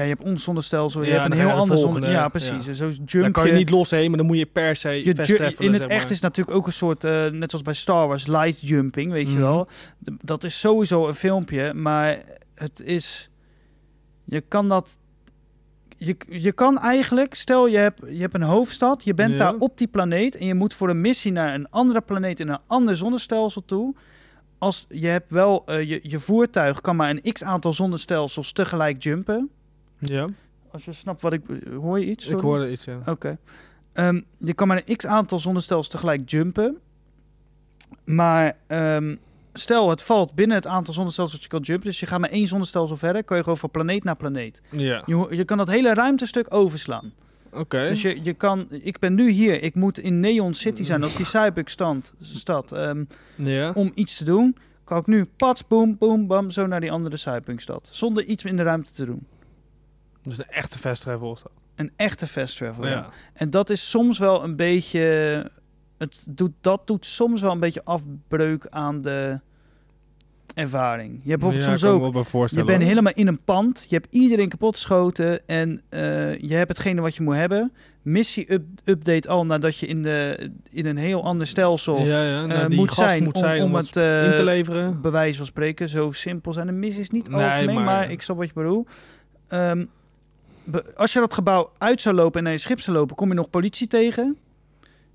hebt ons zonnestelsel, je
Ja,
hebt
dan
een
ga je
heel
naar de
ander
volgende.
zonnestelsel. Ja,
Ja.
precies. Dus En zo is
Dan
jump
kan je
je-
niet losheen, maar dan moet je per se
je
fast
ju-
travelen,
in het
zeg
echt
maar.
is natuurlijk ook een soort, eh, net zoals bij Star Wars, light jumping, weet
Mhm.
je wel. D- Dat is sowieso een filmpje, maar het is, je kan dat, je, je kan eigenlijk, stel je hebt, je hebt een hoofdstad, je bent
Ja.
daar op die planeet en je moet voor een missie naar een andere planeet in een ander zonnestelsel toe. Als je hebt wel, eh, je, je voertuig kan maar een x aantal zonnestelsels tegelijk jumpen.
Ja,
Als je snapt wat ik, eh, hoor je iets?
ik
Sorry.
hoorde iets, ja.
Oké. Ehm, je kan maar een x-aantal zonnestelsels tegelijk jumpen. Maar ehm, stel, het valt binnen het aantal zonnestelsels dat je kan jumpen. Dus je gaat maar één zonnestelsel verder. Kan je gewoon van planeet naar planeet.
Ja,
Je, ho- je kan dat hele ruimtestuk overslaan.
oké.
Dus je, je kan... Ik ben nu hier. Ik moet in Neon City zijn. Dat is die Cyberpunk-stad. Stad, ehm,
Ja.
om iets te doen. Kan ik nu pats, boom, boom, bam, zo naar die andere Cyberpunk-stad. Zonder iets in de ruimte te doen.
Dus een echte fast travel is dat.
Een echte fast travel. ja.
Ja.
En dat is soms wel een beetje. Het doet, dat doet soms wel een beetje afbreuk aan de ervaring. Je hebt bijvoorbeeld
Ja,
soms
kan ik me
ook.
wel bij
Je
voorstellen,
bent
hoor.
helemaal in een pand. Je hebt iedereen kapotgeschoten. En eh, je hebt hetgene wat je moet hebben. Missie up- update al nadat je in, de, in een heel ander stelsel
ja, ja, nou,
eh,
die
moet,
gast
zijn
moet
om,
zijn
om
het
het eh,
in te leveren.
bij wijze van spreken, zo simpel zijn de missies niet
Nee,
algemeen,
maar-
maar, ik snap wat je bedoelt. Ehm, be- als je dat gebouw uit zou lopen en naar je schip zou lopen, kom je nog politie tegen.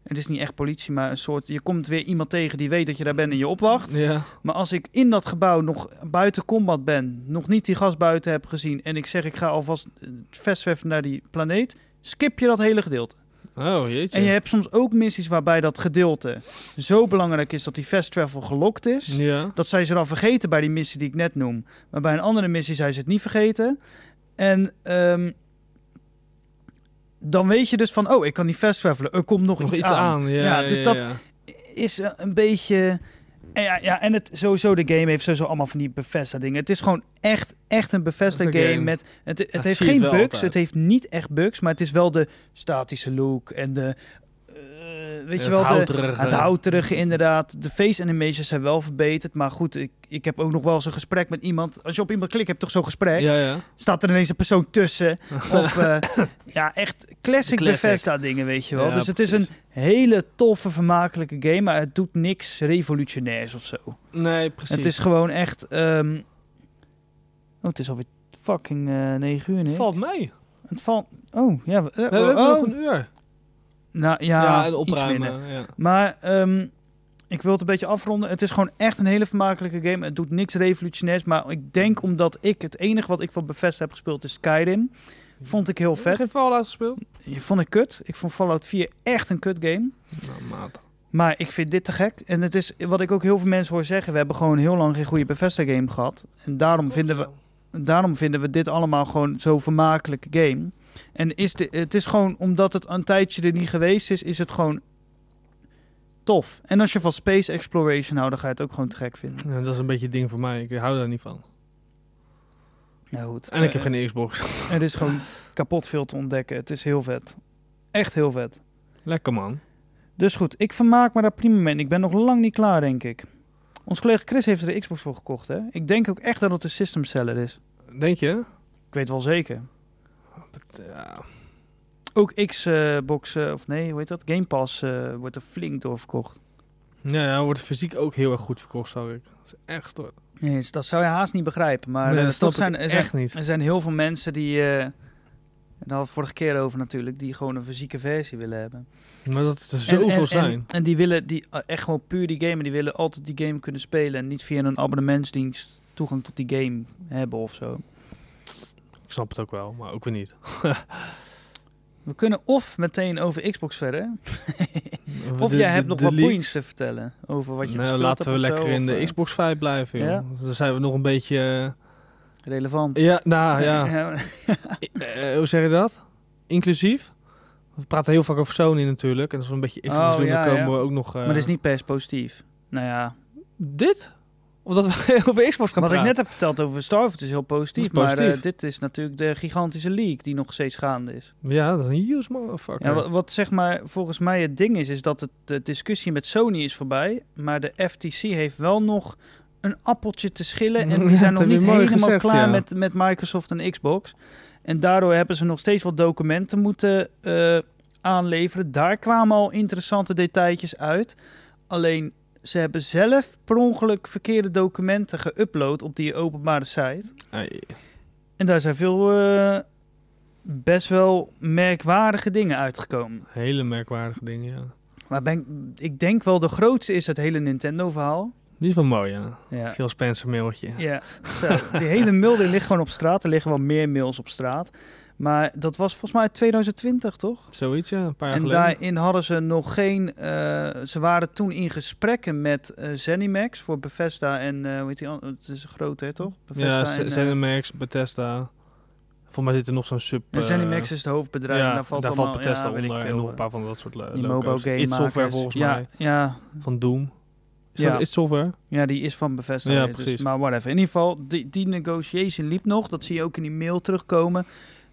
Het is niet echt politie, maar een soort... Je komt weer iemand tegen die weet dat je daar bent en je opwacht.
Ja.
Maar als ik in dat gebouw nog buiten combat ben, nog niet die gas buiten heb gezien... en ik zeg ik ga alvast eh, vestwerven naar die planeet, skip je dat hele gedeelte.
Oh, jeetje.
En je hebt soms ook missies waarbij dat gedeelte zo belangrijk is dat die fast travel gelokt is...
Ja.
Dat zijn ze dan vergeten bij die missie die ik net noem. Maar bij een andere missie zijn ze het niet vergeten. En ehm, dan weet je dus van... Oh, ik kan niet fast travelen. Er komt nog,
Nog
iets,
iets
aan.
aan. Ja,
Ja, dus
ja,
dat-
ja.
Is eh, een beetje... En ja, ja, en het, sowieso de game heeft sowieso allemaal van die Bethesda dingen. Het is gewoon echt, echt een Bethesda
Echt een
game.
game.
Met, het het
Dat
heeft
zie je
geen
het wel
bugs.
altijd.
Het heeft niet echt bugs. Maar het is wel de statische look. En de... eh, weet je
Het
wel, de-
houterige.
het houterige inderdaad. De face animations zijn wel verbeterd. Maar goed, ik, ik heb ook nog wel eens een gesprek met iemand. Als je op iemand klikt, heb je toch zo'n gesprek?
Ja, ja.
Staat er ineens een persoon
<laughs>
tussen? Of eh, ja, echt classic,
Classic.
Bethesda dingen, weet je wel.
Ja,
dus het is
precies.
een hele toffe, vermakelijke game. Maar het doet niks revolutionairs of zo.
Nee, precies.
Het is gewoon echt... ehm, Oh, het is alweer fucking eh 9 uur, nee?
valt mee.
Het valt... Oh, ja. eh,
we hebben
oh,
nog een uur.
nou,
Ja,
ja,
en
iets minder.
opruimen. Ja.
Maar ehm, ik wil het een beetje afronden. Het is gewoon echt een hele vermakelijke game. Het doet niks revolutionairs. Maar ik denk omdat ik het enige wat ik van Bethesda heb gespeeld is Skyrim. Vond ik heel vet.
Geen Fallout gespeeld?
Je vond ik kut. Ik vond Fallout 4 echt een kut game.
Nou, maat.
Maar ik vind dit te gek. En het is wat ik ook heel veel mensen hoor zeggen. We hebben gewoon heel lang geen goede Bethesda game gehad. En daarom vinden we, daarom vinden we dit allemaal gewoon zo'n vermakelijke game. En is de, het is gewoon omdat het een tijdje er niet geweest is, is het gewoon tof. En als je van space exploration houdt, dan ga je het ook gewoon te gek vinden.
Ja, dat is een beetje het ding voor mij. Ik hou daar niet van.
Ja, goed.
En ik heb geen Xbox.
Eh, Er is gewoon kapot veel te ontdekken. Het is heel vet. Echt heel vet.
<laughs> Lekker man.
Dus goed, ik vermaak me daar prima mee. En ik ben nog lang niet klaar, denk ik. Ons collega Chris heeft er de Xbox voor gekocht, hè? Ik denk ook echt dat het een system seller is.
Denk je?
Ik weet wel zeker.
Ja.
Ook Xbox, eh, of nee, hoe heet dat? Game Pass eh, wordt er flink door verkocht.
Ja, ja, wordt fysiek ook heel erg goed verkocht, zag ik. Dat is echt stoer.
Nee, dus dat zou je haast niet begrijpen. Maar
Nee,
eh,
dat
toch
snap
zijn,
ik
er zijn,
echt niet.
er zijn heel veel mensen die, eh, en daar hadden we het vorige keer over natuurlijk, die gewoon een fysieke versie willen hebben.
Maar dat er
En-
zoveel
en,
zijn.
En, en die willen die, eh, echt gewoon puur die gamen, die willen altijd die game kunnen spelen en niet via een abonnementsdienst toegang tot die game hebben of zo.
Ik snap het ook wel, maar ook weer niet.
We kunnen of meteen over Xbox verder, <laughs> of
De-
jij
de-
hebt nog
de
wat
leak-
points te vertellen over wat je
Nou,
gespeeld
laten we
hebt of
lekker
zo,
in
of,
de
eh,
Xbox 5 blijven, joh.
Ja?
Dan zijn we nog een beetje... eh,
relevant.
ja,
<laughs>
nou ja. Eh, hoe zeg je dat? Inclusief. We praten heel vaak over Sony natuurlijk. En als we een beetje Xbox
Oh,
doen,
ja,
dan komen
ja.
we ook nog... eh,
Maar dat is niet pers positief. Nou ja,
Dit? Of dat we <laughs> over Xbox gaan
wat ik
praten?
net heb verteld over Starfield is heel positief.
Dat is positief.
Maar eh, dit is natuurlijk de gigantische leak die nog steeds gaande is.
Ja, dat is een huge motherfucker.
Ja, wat, wat zeg maar volgens mij het ding is, is dat het, de discussie met Sony is voorbij. Maar de FTC heeft wel nog een appeltje te schillen. En
Ja, <laughs>
die zijn nog
dat heb je
niet
mooi
helemaal
gezegd,
klaar
ja.
met, met Microsoft en Xbox. En daardoor hebben ze nog steeds wat documenten moeten eh, aanleveren. Daar kwamen al interessante detailtjes uit. Alleen ze hebben zelf per ongeluk verkeerde documenten geüpload op die openbare site. En daar zijn veel eh, best wel merkwaardige dingen uitgekomen.
hele merkwaardige dingen, ja.
Maar ben, ik- ik denk wel de grootste is het hele Nintendo-verhaal.
Die is wel mooi, ja.
Ja.
Veel Spencer mailtje.
Ja, zo. die hele mail die ligt gewoon op straat. Er liggen wel meer mails op straat. Maar dat was volgens mij 2020, toch?
Zoiets, ja. Een paar jaar
En
geleden.
daarin hadden ze nog geen... eh, ze waren toen in gesprekken met eh Zenimax voor Bethesda en... eh hoe heet die an- Het is een grote, hè, toch? Bethesda
ja,
en, eh,
Z- ZeniMax, Bethesda. Volgens mij zit er nog zo'n sub...
en
eh,
Zenimax is het hoofdbedrijf.
ja,
en daar valt, allemaal,
Bethesda
ja, weet ik
onder en
veel,
nog een
eh,
paar van dat soort lo-
Die
logo's.
mobile game
It Software volgens
ja,
mij,
Ja,
van Doom. Is
Ja.
dat It Software?
Ja, die is van Bethesda.
Ja,
dus-
precies.
maar whatever. In ieder geval, die, die negotiation liep nog. Dat zie je ook in die mail terugkomen.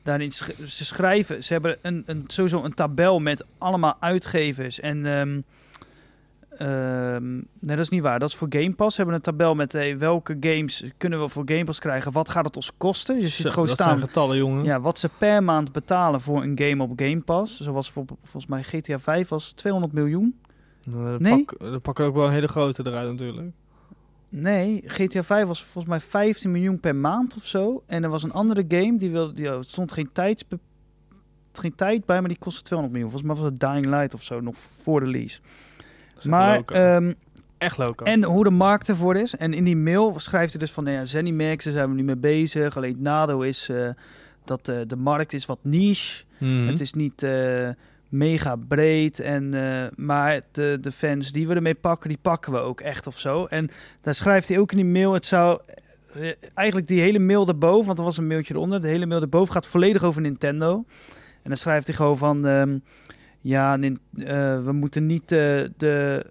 Daarin sch- ze schrijven, ze hebben een, een, sowieso een tabel met allemaal uitgevers. En ehm, ehm, nee, dat is niet waar. Dat is voor Game Pass. Ze hebben een tabel met hey, welke games kunnen we voor Game Pass krijgen. Wat gaat het ons kosten? Je ziet
Zo,
gewoon
dat
staan
zijn getallen, jongen.
ja, wat ze per maand betalen voor een game op Game Pass. Zoals voor, volgens mij GTA 5 was 200 miljoen.
Nou, Dan,
Nee?
pak- dan pakken we ook wel een hele grote eruit natuurlijk.
Nee, GTA 5 was volgens mij 15 miljoen per maand of zo. En er was een andere game, die wilde, die, oh, er stond geen, tijds, geen tijd bij, maar die kostte 200 miljoen. Volgens mij was het Dying Light of zo, nog voor de lease.
Dat is echt
Maar,
loco.
ehm,
echt loco.
en hoe de markt ervoor is. En in die mail schrijft hij dus van, nou ja, Zenimax, daar zijn we nu mee bezig. Alleen het nadeel is eh, dat eh, de markt is wat niche.
Mhm.
Het is niet eh, mega breed. En, eh, maar de, de fans die we ermee pakken, die pakken we ook echt of zo. En daar schrijft hij ook in die mail. Het zou eh, eigenlijk die hele mail daarboven, want er was een mailtje eronder. De hele mail daarboven gaat volledig over Nintendo. En dan schrijft hij gewoon van. ehm, ja, nin- eh, we moeten niet eh, de.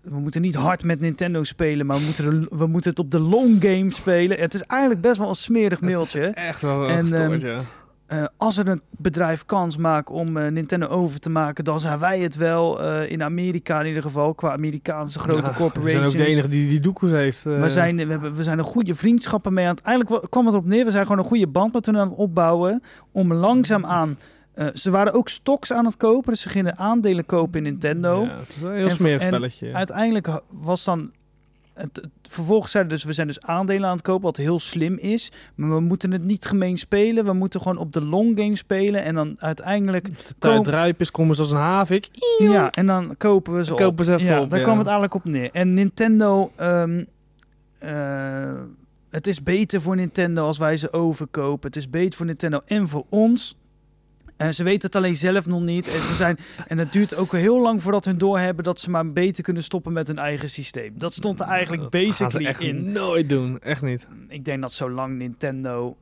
We moeten niet hard met Nintendo spelen, maar we moeten, de- we moeten het op de long game spelen. Het is eigenlijk best wel een smerig
Dat is
mailtje.
Echt wel
eh, En,
en, gestoord,
ehm,
ja.
Eh, als er een bedrijf kans maakt om eh, Nintendo over te maken, dan zijn wij het wel. eh, in Amerika in ieder geval, qua Amerikaanse grote
Ja,
corporations.
We zijn ook de enige die die doekoes heeft. eh.
We zijn, we, hebben, we zijn een goede vriendschappen mee aan het... Eigenlijk wa- kwam het erop neer, we zijn gewoon een goede band met hun aan het opbouwen. Om langzaam aan... eh, ze waren ook stocks aan het kopen, dus ze gingen aandelen kopen in Nintendo.
Ja, het is wel een heel
En-
smerig
en
spelletje.
Uiteindelijk ha- was dan... Het, het- vervolgens zeiden dus, we zijn dus aandelen aan het kopen, wat heel slim is. Maar we moeten het niet gemeen spelen. We moeten gewoon op de long game spelen. En dan uiteindelijk
de tijd
kom-
rijp is, komen ze als een havik.
Ja, en dan kopen we ze
Dan
op.
kopen ze even
ja,
op,
Daar
ja.
kwam het eigenlijk op neer. En Nintendo... ehm, eh, het is beter voor Nintendo als wij ze overkopen. Het is beter voor Nintendo en voor ons. En ze weten het alleen zelf nog niet. En, ze zijn, en het duurt ook heel lang voordat hun doorhebben... dat ze maar beter kunnen stoppen met hun eigen systeem. Dat stond er eigenlijk
Dat gaan ze
basically
echt
in.
nooit doen. Echt niet.
Ik denk dat zolang Nintendo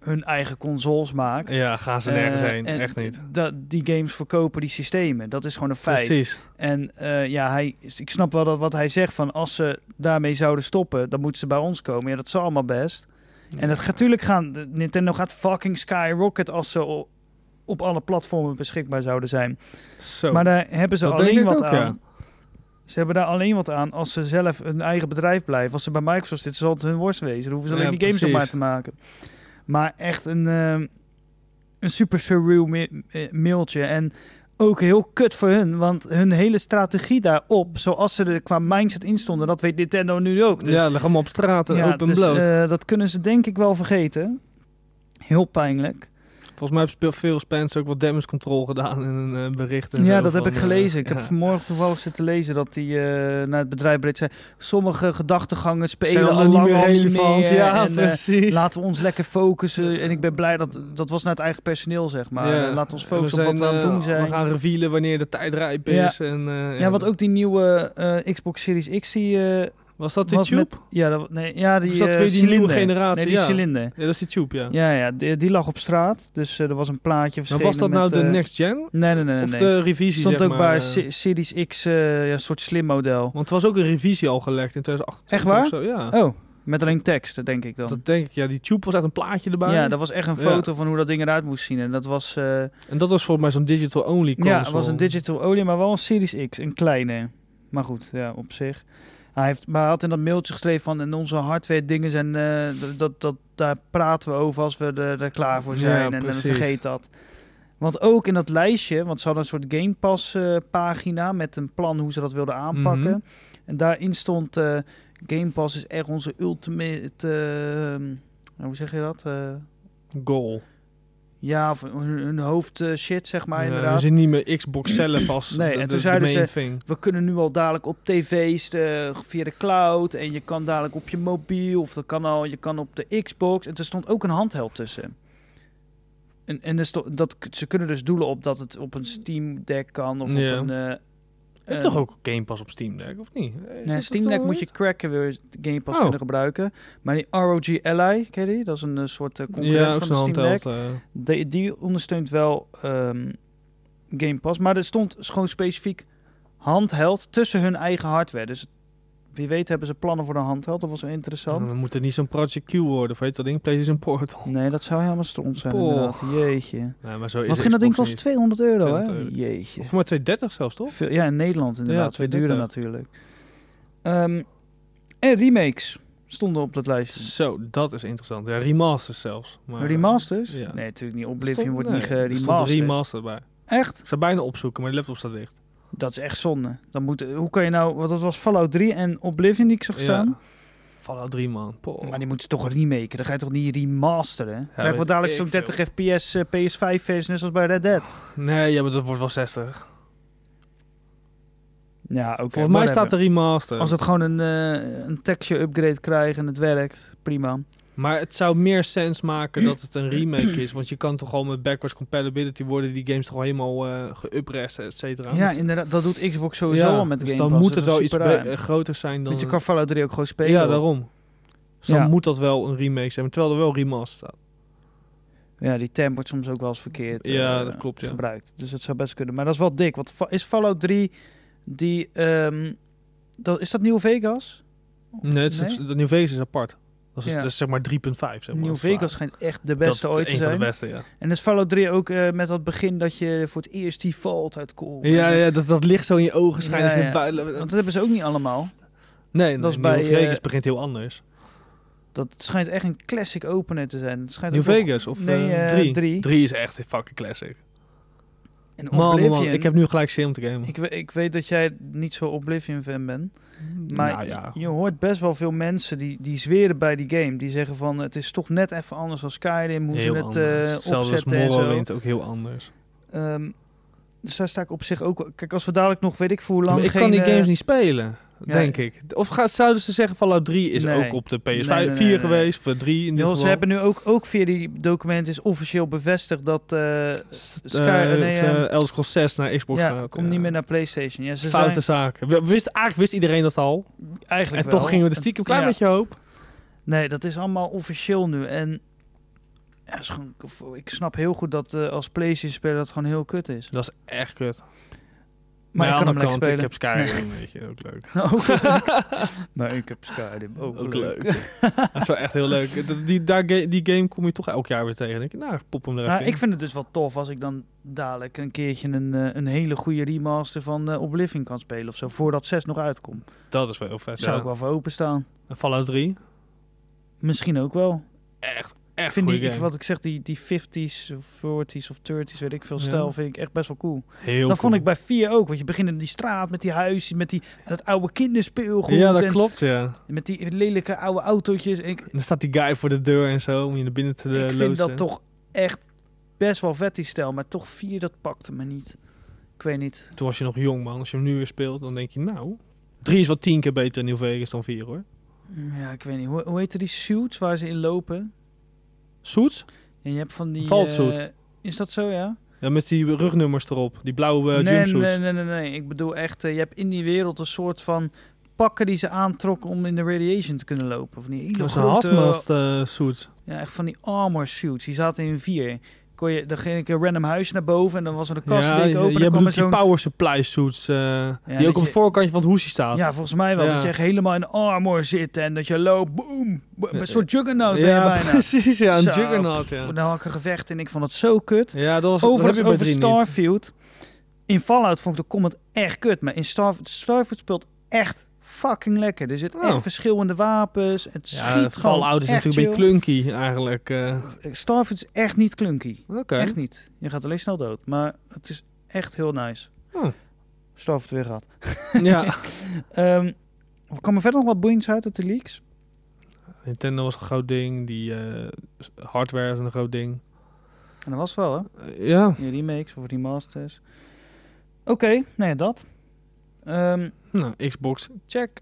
hun eigen consoles maakt...
Ja, gaan ze nergens
eh,
heen.
en
Echt niet.
dat- die games verkopen die systemen. Dat is gewoon een feit.
Precies.
En eh, ja, hij, ik snap wel dat wat hij zegt van als ze daarmee zouden stoppen, dan moeten ze bij ons komen. Ja, dat zal allemaal best. En dat gaat natuurlijk gaan. de- Nintendo gaat fucking skyrocket als ze o- op alle platformen beschikbaar zouden zijn.
Zo.
Maar daar hebben ze
Oh. Dat
alleen
denk ik
wat
ook,
aan. Ze hebben daar alleen wat aan als ze zelf hun eigen bedrijf blijven. Als ze bij Microsoft zitten, zal het hun worst wezen. Dan hoeven ze
Ja,
alleen die games nog maar
precies.
te maken. Maar echt een, ehm, een super surreal mi- eh, mailtje. En ook heel kut voor hun, want hun hele strategie daarop, zoals ze er qua mindset in stonden, dat weet Nintendo nu ook. Dus,
ja, leg hem op straat,
ja,
open
dus,
bloot.
eh, dat kunnen ze denk ik wel vergeten. Heel pijnlijk.
Volgens mij heeft Spil- Phil Spence ook wat damage control gedaan in een eh, bericht. en
Ja,
zo
dat heb
van,
ik
eh,
gelezen. Ik heb
ja.
vanmorgen toevallig zitten lezen dat hij eh, naar het bedrijf breed zei... sommige gedachtegangen
Zijn
spelen
allemaal
al lang
niet meer
al niet
relevant.
meer.
ja,
en, eh,
precies.
laten we ons lekker focussen. En ik ben blij dat... Dat was naar het eigen personeel, zeg maar.
Ja.
Eh, laten we ons
En
focussen op wat
zijn,
we aan het
eh,
doen zijn.
We gaan revealen wanneer de tijd rijp
Ja.
is. En, eh,
Ja, wat ook die nieuwe eh, Xbox Series X die... eh,
Was dat die
was
tube?
met... Ja, dat, nee, ja die
Is dat
eh,
weer die nieuwe
cilinder.
generatie?
Nee, die
Ja.
cilinder.
Ja, dat is die tube, ja.
Ja, ja die, die lag op straat. Dus eh, er was een plaatje
Maar
verschenen
was dat nou
met,
de
eh,
next gen?
Nee, nee, nee. nee,
Of
nee.
de revisie,
stond
zeg
ook
maar,
bij
eh?
Se- Series X, eh, ja, een soort slim model.
Want er was ook een revisie al gelekt in 2008.
Echt waar?
Of zo, ja.
Oh, met alleen tekst, denk ik dan.
Dat denk ik, ja. Die tube was uit een plaatje erbij.
ja, dat was echt een
Ja.
foto van hoe dat ding eruit moest zien. En dat was... eh,
En dat was volgens mij zo'n digital-only console.
ja, het was een digital olie, maar wel een Series X. Een kleine. Maar goed, ja, op zich. Hij, heeft, maar hij had in dat mailtje geschreven van en onze hardware dingen zijn, eh, dat, dat, dat, daar praten we over als we er, er klaar voor
Ja,
zijn en, en
precies.
vergeet dat. Want ook in dat lijstje, want ze hadden een soort Game Pass eh, pagina met een plan hoe ze dat wilden aanpakken.
Mhm.
En daarin stond eh, Game Pass is echt onze ultimate, eh, hoe zeg je dat? Eh,
Goal.
ja, of hun, hun hoofd eh, shit zeg maar
Ja,
inderdaad.
We zien niet
<clears throat>
meer Xbox zelf als
Nee,
de,
en
de-
toen
de
zeiden
main
ze-
thing.
we kunnen nu al dadelijk op tv's eh, via de cloud. En je kan dadelijk op je mobiel. Of dat kan al, je kan op de Xbox. En er stond ook een handheld tussen. En, en er sto- dat, ze kunnen dus doelen op dat het op een Steam Deck kan. Of
Ja.
op een... eh,
Je hebt
eh,
toch ook Game Pass op Steam Deck, of niet? Eh, Is dat
Nee,
het
Steam Deck
zo
moet je
heet?
cracken wil je Game Pass
Oh.
kunnen gebruiken. Maar die ROG Ally, ken je die? Dat is een eh, soort eh,
Ja,
concurrent
ook
van de
zo'n
Steam Deck.
handheld. eh.
Die, die ondersteunt wel ehm, Game Pass. Maar er stond gewoon specifiek handheld tussen hun eigen hardware. Dus wie weet hebben ze plannen voor de handheld. Dat was wel interessant.
Dan moet het niet zo'n Project Q worden, of heet dat ding? PlayStation Portal.
Nee, dat zou helemaal stront zijn
Poh.
inderdaad. Jeetje.
Nee, maar zo is
Wat ging dat ding
Xbox
kosten? 200 euro,
200
hè?
euro.
Jeetje.
niet. Of maar 230 zelfs, toch?
Veel- ja, in Nederland
Ja,
inderdaad. Weer duurder
230.
natuurlijk. Ehm, en remakes stonden op dat lijstje.
Zo, dat is interessant. Ja, remasters zelfs. Maar,
remasters?
ja.
Nee, natuurlijk niet.
Stond-
Oblivion wordt
nee,
niet
er stond
geremasterd.
remaster bij.
Echt?
Ik zou bijna opzoeken, maar de laptop staat dicht.
Dat is echt zonde. Dan moet, hoe kan je nou... Want dat was Fallout 3 en Oblivion die ik zag staan.
Ja. Fallout 3, man. Poh.
Maar die moeten ze toch remaken? Dan ga je toch niet remasteren? Krijgen we
weet
dadelijk
ik
zo'n
veel.
30 fps eh, PS5 versie net zoals bij Red Dead?
Nee, ja, maar dat wordt wel 60.
Ja, ook
Volgens mij staat er remaster.
Als het gewoon een, eh, een texture upgrade krijgt en het werkt, prima.
Maar het zou meer sens maken dat het een remake is. Want je kan toch gewoon met backwards compatibility worden die games toch al helemaal eh geupresten, et cetera.
Ja,
Dus-
inderdaad. Dat doet Xbox sowieso al met
dus
Game
dan
Pass.
moet het
Dat is
wel iets
super raar.
be- eh, groter zijn dan...
Want je kan Fallout 3 ook gewoon spelen.
Ja,
hoor.
daarom. Dus dan
Ja.
moet dat wel een remake zijn, terwijl er wel remaster staat.
Ja, die temp wordt soms ook wel eens verkeerd eh,
Ja, dat klopt, ja.
gebruikt. Dus dat zou best kunnen. Maar dat is wel dik. Want fa- is Fallout 3 die... ehm, dat, is dat New Vegas?
Nee, het is,
Nee?
het- de New Vegas is apart. Dat is,
Ja.
dat is zeg maar 3.5. Zeg maar,
New
Dat is waar.
Vegas schijnt echt de
Dat
beste
is
ooit te
een van de
zijn.
beste, ja.
En is Fallout 3 ook eh, met dat begin dat je voor het eerst die valt uit kool.
Ja, ja dat, dat licht zo in je ogen schijnen.
Ja,
ze
ja.
builen.
Want dat hebben ze ook niet allemaal.
Nee, nee,
Dat is
New
bij,
Vegas
eh,
begint heel anders.
Dat schijnt echt een classic opener te zijn. Het schijnt
New
ook nog-
Vegas of
nee,
eh,
eh,
drie.
drie.
Drie is echt een fucking classic.
En
Man, man,
Oblivion.
man, ik heb nu gelijk zin om te gamen.
ik, we- ik weet dat jij niet zo Oblivion-fan bent. Maar
nou ja.
je hoort best wel veel mensen die, die zweren bij die game. Die zeggen van het is toch net even anders dan Skyrim. Hoe
Heel
ze het
anders.
eh,
Zelfs als
opzetten en zo.
Morrowind ook heel anders.
Ehm, dus daar sta ik op zich ook... wel- Kijk, als we dadelijk nog weet ik voor hoe lang
Maar ik
geen...
kan die
eh,
games niet spelen,
ja,
denk ik. Of ga, zouden ze zeggen Fallout 3 is
Nee.
ook op de PS5
Nee, nee, nee,
4
nee.
geweest, voor 3 in dit
Joh,
geval.
ze hebben nu ook, ook via die documenten is officieel bevestigd dat eh,
S-
Sky-
eh,
nee,
of,
ehm,
eh, Elder Scrolls 6 naar Xbox
ja,
gaat.
komt
ja.
niet meer naar PlayStation. Ja, ze
Foute zaak. We- Wist, eigenlijk wist iedereen dat al.
zijn eigenlijk
en
wel.
toch gingen we er stiekem een klein
Ja.
beetje hoop.
Nee, dat is allemaal officieel nu. En ja, is gewoon, ik snap heel goed dat eh, als PlayStation speler dat gewoon heel kut is.
Dat is echt kut. Maar,
Maar,
aan
ik
de
kan
andere
hem lekker
kant, ik
spelen.
heb Skyrim, weet je, ook
<laughs>
leuk. <laughs>
Maar Nou, ik heb Skyrim ook,
Ook
leuk. <laughs> Nou,
Dat is wel echt heel <laughs> leuk. Dat- Die, daar, ga- die game kom je toch elk jaar weer tegen. Dan denk je, nou, pop hem er
Nou,
even in.
ik vind het dus wel tof als ik dan dadelijk een keertje een, eh, een hele goede remaster van eh, Oblivion kan spelen of zo. Voordat 6 nog uitkomt.
Dat is wel heel vet.
Zou
ja.
ik wel voor openstaan.
En Fallout 3,
Misschien ook wel.
echt,
Ik
echt
vind
goede
die, ik-
game.
wat ik zeg, die, die 50s of 40s of 30s, weet ik veel,
Ja.
stijl vind ik echt best wel cool.
Heel
dat vond
cool.
ik bij 4 ook, want je begint in die straat met die huisjes, met die, dat oude kinderspeelgoed.
Ja, dat
en
klopt, ja.
Met die lelijke oude autootjes. Ik,
En dan staat die guy voor de deur en zo, om je naar binnen te
ik
eh,
vind
loodsen.
dat toch echt best wel vet, die stijl. Maar toch 4, dat pakte me niet. Ik weet niet.
Toen was je nog jong, man. Als je hem nu weer speelt, dan denk je, nou... 3 is wel tien keer beter in New Vegas dan 4, hoor.
Ja, ik weet niet. Hoe, hoe heette die suits waar ze in lopen?
Suits?
En je hebt van die...
Vaultsuit.
eh, is dat zo, ja?
Ja, met die rugnummers erop. Die blauwe eh,
nee,
jumpsuits.
nee, nee, nee, nee. Ik bedoel echt, eh, je hebt in die wereld een soort van pakken die ze aantrokken om in de radiation te kunnen lopen. Van die hele
Dat is een
grote,
hazmat eh, suit.
ja, echt van die armor suits. Die zaten in vier. Kon je, dan ging ik een random huis naar boven en dan was er een kast die ik
je-
open. en dan
je
kwam er
bedoelt die
zo'n,
power supply suits. eh, die
dat
ook op het
je-
voorkantje van het hoesje staat.
ja, nou, volgens mij wel.
Ja.
Dat je echt helemaal in armor zit en dat je loopt, boom, bo- een soort juggernaut ben je
ja,
bijna.
precies. Ja, een
Zo,
juggernaut, ja.
Dan had ik een gevecht en ik vond het zo kut.
Ja, dat was dat
Overigens
heb je bij
over
drie niet.
Starfield. In Fallout vond ik de comment echt kut. Maar in Starf- Starfield speelt echt fucking lekker. Er zitten
Oh.
echt verschillende wapens. Het schiet gewoon
Fallout is
echt,
natuurlijk een
joh.
beetje clunky eigenlijk. eh.
Starfield is echt niet clunky.
Oké.
Echt niet. Je gaat alleen snel dood. Maar het is echt heel nice.
Oh.
Starfield weer gehad.
<laughs>
<laughs>
Ja.
Ehm er kwam er verder nog wat boeiends uit uit de leaks?
Nintendo was een groot ding. Die eh, hardware is een groot ding.
En dat was wel, hè?
Eh, ja.
Die remakes of remasters. Oké, nee, dat. Ehm
Nou, Xbox, check.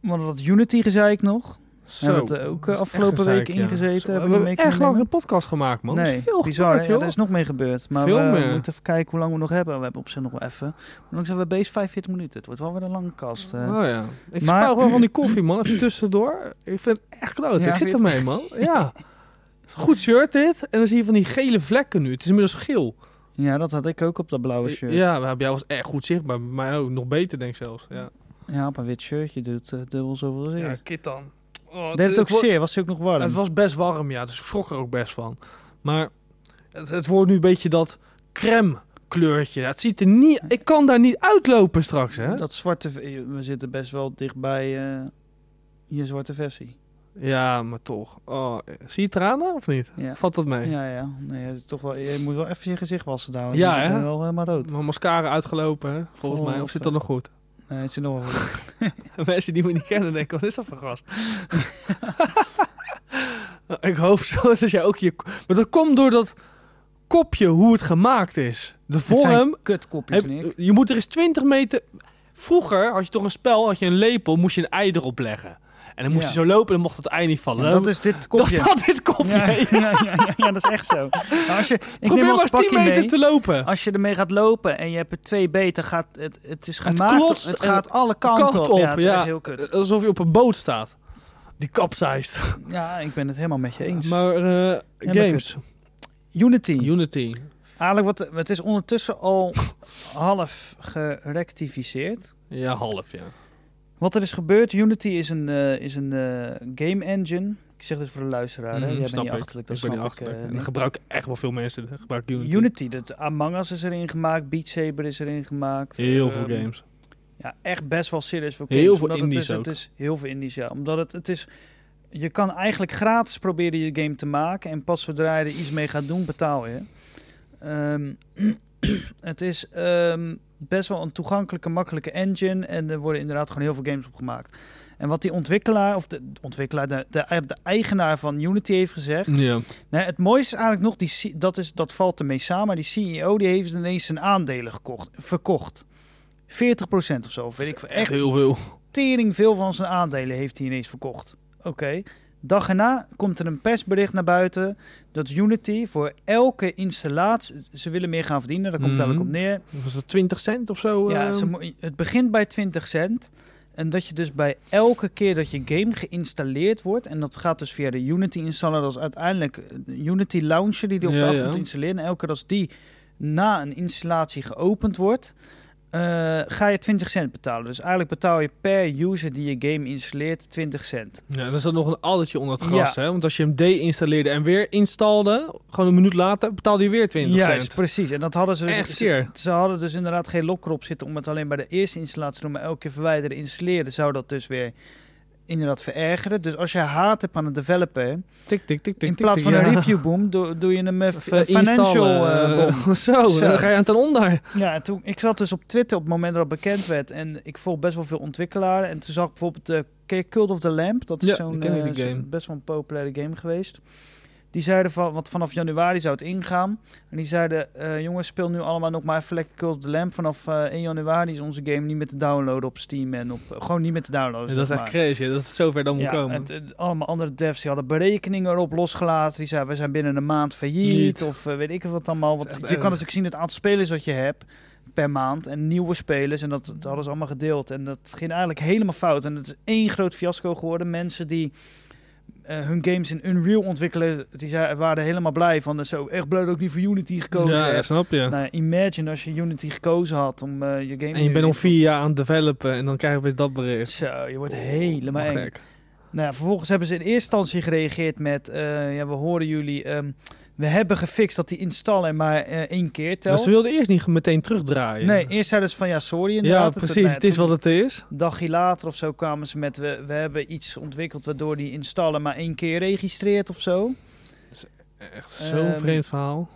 we hadden dat Unity gezeik nog.
Zo.
hebben we het eh, ook eh, afgelopen week ingezeten.
Zo, we
Hebben we
hebben
mee
erg
kunnen
lang
nemen?
een podcast gemaakt, man. Nee,
nee,
is veel
bizar.
gebeurd,
ja,
joh.
er is nog mee gebeurd. Maar
Veel
we, we
meer.
moeten even kijken hoe lang we nog hebben. We hebben op zich nog wel even. Hoe lang zijn we bezig? 45 minuten. Het wordt wel weer een lange kast. eh.
Oh ja. Ik
Maar-
spaar gewoon van die koffie, man. Even tussendoor. Ik vind het echt kloot.
Ja,
ik
vind
zit
je
ermee, man. Ja. Goed shirt dit. En dan zie je van die gele vlekken nu. Het is inmiddels geel.
Ja, dat had ik ook op dat blauwe Oh, shirt.
Ja, bij jou was echt goed zichtbaar. Bij mij ook. Nog beter, denk ik zelfs. Ja,
Ja, op een wit shirtje doet eh, dubbel zoveel zeer.
ja kit dan. Oh,
Deed het ook
wo-
zeer, was hij ook nog warm.
Het was best warm, ja. Dus ik schrok er ook best van. Maar het, het wordt nu een beetje dat crème kleurtje. Ja, het ziet er niet... Ik kan daar niet uitlopen straks, hè.
Dat zwarte, v- we zitten best wel dichtbij eh, je zwarte versie.
Ja, maar toch. Oh, zie je tranen of niet?
Ja.
Valt dat mee?
Ja, ja. Nee, het is toch wel, je moet wel even je gezicht wassen dadelijk.
Ja,
want ik
hè?
ben wel eh, helemaal rood.
Mijn mascara uitgelopen, hè? volgens
Goh,
mij. Of
wat
zit dat nog goed?
Nee, het zit nog wel goed.
<laughs> Mensen die me niet kennen denken, wat is dat voor
<laughs>
gast? ik hoop zo dat jij ook je... Maar dat komt door dat kopje, hoe het gemaakt is. De
Het zijn
vorm...
Kutkopjes,
Heb- eh,
Nick.
je moet er eens 20 meter... Vroeger had je toch een spel, had je een lepel, moest je een ei erop leggen. En dan moest
Ja.
je zo lopen en dan mocht het ei niet vallen.
Ja, dat is dit kopje.
<laughs> Dat zat dit kopje.
ja, ja, ja, ja, ja, dat is echt zo. Maar als je, ik
Probeer
neem
maar
als
eens 10
pakje
meter
mee.
te lopen.
Als je ermee gaat lopen en je hebt er twee beter, gaat het, het is gemaakt.
klotst
het
en
gaat alle kanten
kant
op.
op,
Ja, het is
ja.
echt heel kut.
Eh, Alsof je op een boot staat. Die kapseist.
Ja, ik ben het helemaal met je eens.
Maar eh,
maar
games.
Unity.
Unity.
Eigenlijk, wat, het is ondertussen al half gerectificeerd.
Ja, half ja.
Wat er is gebeurd, Unity is een, eh, is een eh, game engine. Ik zeg dit voor de luisteraar, hè?
Mhm,
Jij bent
snap
niet
ik.
achterlijk, dat
ik
snap
ben niet
ik.
achterlijk.
eh,
En
niet.
dat gebruiken echt wel veel mensen. Dat gebruiken Unity.
Unity, dat Among Us is erin gemaakt, Beat Saber is erin gemaakt.
Heel veel
Ehm,
games.
Ja, echt best wel serieus voor
Heel
games.
veel
omdat
indies
het is,
ook.
Het is heel veel indies, ja. Omdat het, het is... Je kan eigenlijk gratis proberen je game te maken. En pas zodra je er iets mee gaat doen, betaal je. Ehm, <clears throat> het is ehm, best wel een toegankelijke, makkelijke engine. En er worden inderdaad gewoon heel veel games op gemaakt. En wat die ontwikkelaar, of de de ontwikkelaar, de, de, de eigenaar van Unity heeft gezegd.
Ja.
Nee, het mooiste is eigenlijk nog, die, C- dat, is, dat valt ermee samen. Die CEO die heeft ineens zijn aandelen gekocht, verkocht. 40% of zo. of Weet ik, veel. echt
heel veel.
tering veel van zijn aandelen heeft hij ineens verkocht. Oké. Dag erna komt er een persbericht naar buiten dat Unity voor elke installatie... Ze willen meer gaan verdienen, daar komt het
Mhm.
eigenlijk op neer.
Was dat 20 cent of zo?
Ja,
eh?
ze mo- het begint bij 20 cent. En dat je dus bij elke keer dat je game geïnstalleerd wordt... en dat gaat dus via de Unity-installer... dat is uiteindelijk eh, Unity Launcher die die op de
Ja,
achtergrond
ja.
installeert. En elke keer als die na een installatie geopend wordt... eh, ga je 20 cent betalen. Dus eigenlijk betaal je per user die je game installeert 20 cent.
Ja, er zat nog een addertje onder het gras, hè? Want als je hem deinstalleerde en weer instalde, gewoon een minuut later, betaalde je weer 20
Juist,
cent.
precies. En dat hadden ze dus...
Echt
ze-
keer.
Ze hadden dus inderdaad geen lokker op zitten om het alleen bij de eerste installatie te doen. Maar elke keer verwijderen, installeren zou dat dus weer inderdaad verergeren. Dus als je haat hebt aan een developer,
Tik, tik, tik, tik,
in plaats
tik,
van
ja.
een
<laughs>
review boom, doe, doe je hem eh,
Of,
f-
eh,
financial
installen,
eh, bom.
eh, <laughs> zo,
Zo.
dan ga je aan ten onder.
Ja, en toen, ik zat dus op Twitter op het moment dat het bekend werd en ik volg best wel veel ontwikkelaars. En toen zag ik bijvoorbeeld de Cult of the Lamp, dat is
Ja, die
zo'n
ken ik,
eh,
die
zo'n
game.
best wel een populaire game geweest. Die zeiden van, wat vanaf januari zou het ingaan. En die zeiden, eh, jongens, speel nu allemaal nog maar even lekker Cult of the Lamp. Vanaf eh, 1 januari is onze game niet meer te downloaden op Steam en op... eh, gewoon niet meer te downloaden.
dat is
zeg
echt
maar.
crazy, dat het zover dan moet
Ja,
komen.
het- het- allemaal andere devs die hadden berekeningen erop losgelaten. Die zeiden, we zijn binnen een maand failliet.
Niet.
Of eh, weet ik wat allemaal. Want
Echt
je
erg.
kan natuurlijk zien het aantal spelers dat je hebt per maand. En nieuwe spelers. En dat, dat hadden ze allemaal gedeeld. En dat ging eigenlijk helemaal fout. En het is één groot fiasco geworden. Mensen die... eh, hun games in Unreal ontwikkelen, die zei, waren helemaal blij van. eh, Zo, echt blij dat ik niet voor Unity gekozen
ja,
heb.
ja, snap je.
Nou, ja, imagine als je Unity gekozen had om eh, je game...
en je
nu
bent al
in-
vier jaar aan het developen en dan krijgen we weer dat bericht.
Zo, je wordt helemaal
Oh,
eng.
gek.
Nou ja, vervolgens hebben ze in eerste instantie gereageerd met... eh, ja, we horen jullie, ehm, we hebben gefixt dat die installen maar eh, één keer
Maar
telt.
ze Dus wilden eerst niet meteen terugdraaien.
Nee, eerst zeiden ze van ja, sorry
Ja,
inderdaad.
precies. Het is wat het is.
Een dagje later of zo kwamen ze met we, we hebben iets ontwikkeld waardoor die installen maar één keer registreert of zo.
Echt
zo'n
zo'n
Ehm, vreemd
vreemd verhaal.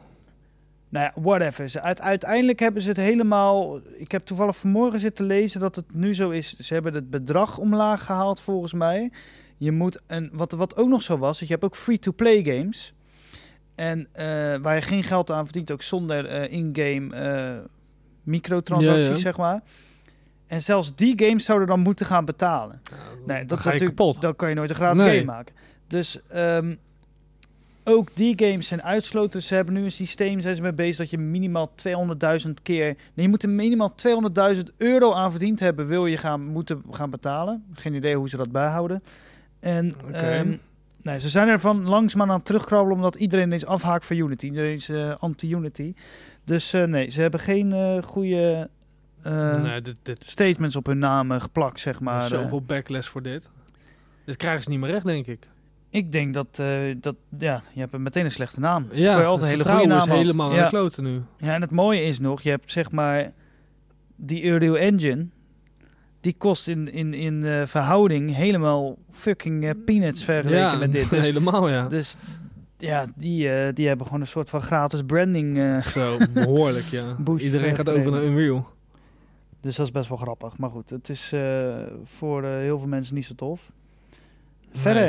Nou ja, whatever. Ze- Uit, uiteindelijk hebben ze het helemaal. Ik heb toevallig vanmorgen zitten lezen dat het nu zo is. Ze hebben het bedrag omlaag gehaald, volgens mij. Je moet een, wat, wat ook nog zo was, dat je hebt ook free-to-play games. En eh, waar je geen geld aan verdient, ook zonder eh, in-game eh, microtransacties,
Ja, ja.
zeg maar. En zelfs die games zouden dan moeten gaan betalen. Nee, dat
dat
is
ga je
natuurlijk,
kapot.
Dan kan je nooit een gratis
Nee.
game maken. Dus ehm, ook die games zijn uitsloten. Ze hebben nu een systeem, zijn ze mee bezig, dat je minimaal 200.000 keer... Nee, je moet er minimaal 200.000 euro aan verdiend hebben, wil je gaan, moeten gaan betalen. Geen idee hoe ze dat bijhouden. En
Oké.
ehm, nee, ze zijn ervan langzaamaan aan het terugkrabbelen, omdat iedereen ineens afhaakt van Unity. Iedereen is eh, anti-Unity. Dus eh, nee, ze hebben geen eh, goede... eh,
nee, dit, dit is
Statements op hun namen geplakt, zeg maar. eh.
zoveel backlash voor dit. Dit krijgen ze niet meer recht, denk ik.
Ik denk dat, eh, dat ja, je hebt meteen een slechte naam. Terwijl
Ja,
je altijd een
het
hele goede
vertrouwen
naam had.
is helemaal aan de
ja.
kloten nu.
ja, en het mooie is nog, je hebt zeg maar die Unreal Engine. Die kost in, in, in eh, verhouding helemaal fucking eh, peanuts vergeleken
Ja,
met
<laughs>
dit. Dus,
helemaal
<laughs>
ja.
dus ja, die, eh, die hebben gewoon een soort van gratis branding. eh,
Zo, behoorlijk ja.
Boost
Iedereen gaat
gekregen.
over naar Unreal.
dus dat is best wel grappig. Maar goed, het is eh, voor eh, heel veel mensen niet zo tof. Verder,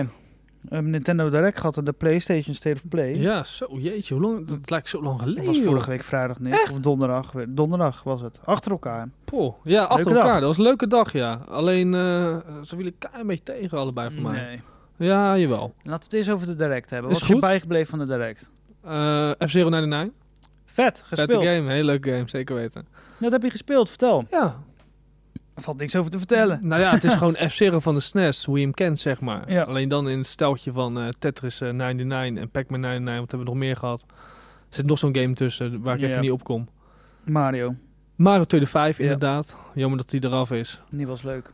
Nee.
eh, Nintendo Direct gehad en de PlayStation State of Play.
Ja, zo, jeetje, hoe lang? Dat lijkt zo lang
Dat
geleden.
was
joh.
vorige week vrijdag niet. Of donderdag. Donderdag was het. Achter elkaar.
Poh, ja, achter
Leuke
elkaar.
dag.
Dat was een leuke dag, ja. Alleen, eh, ze vielen een beetje tegen allebei voor mij.
Nee.
Ja, jawel.
Laten we het eens over de direct hebben.
Is
Wat is je
goed.
bijgebleven van de direct?
Eh F-099.
Vet,
Vette
gespeeld.
game, hele leuke game, zeker weten.
Dat heb je gespeeld, vertel.
Ja.
Er valt niks over te vertellen.
Nou ja, het is gewoon F-Zero van de SNES, hoe je hem kent, zeg maar.
Ja.
Alleen dan in het steltje van eh, Tetris eh, 99 en Pac-Man 99, want hebben we nog meer gehad. Er zit nog zo'n game tussen waar ik
Ja.
even niet op kom.
Mario,
Mario 2.5,
Ja.
inderdaad. Jammer dat die eraf is.
die was leuk.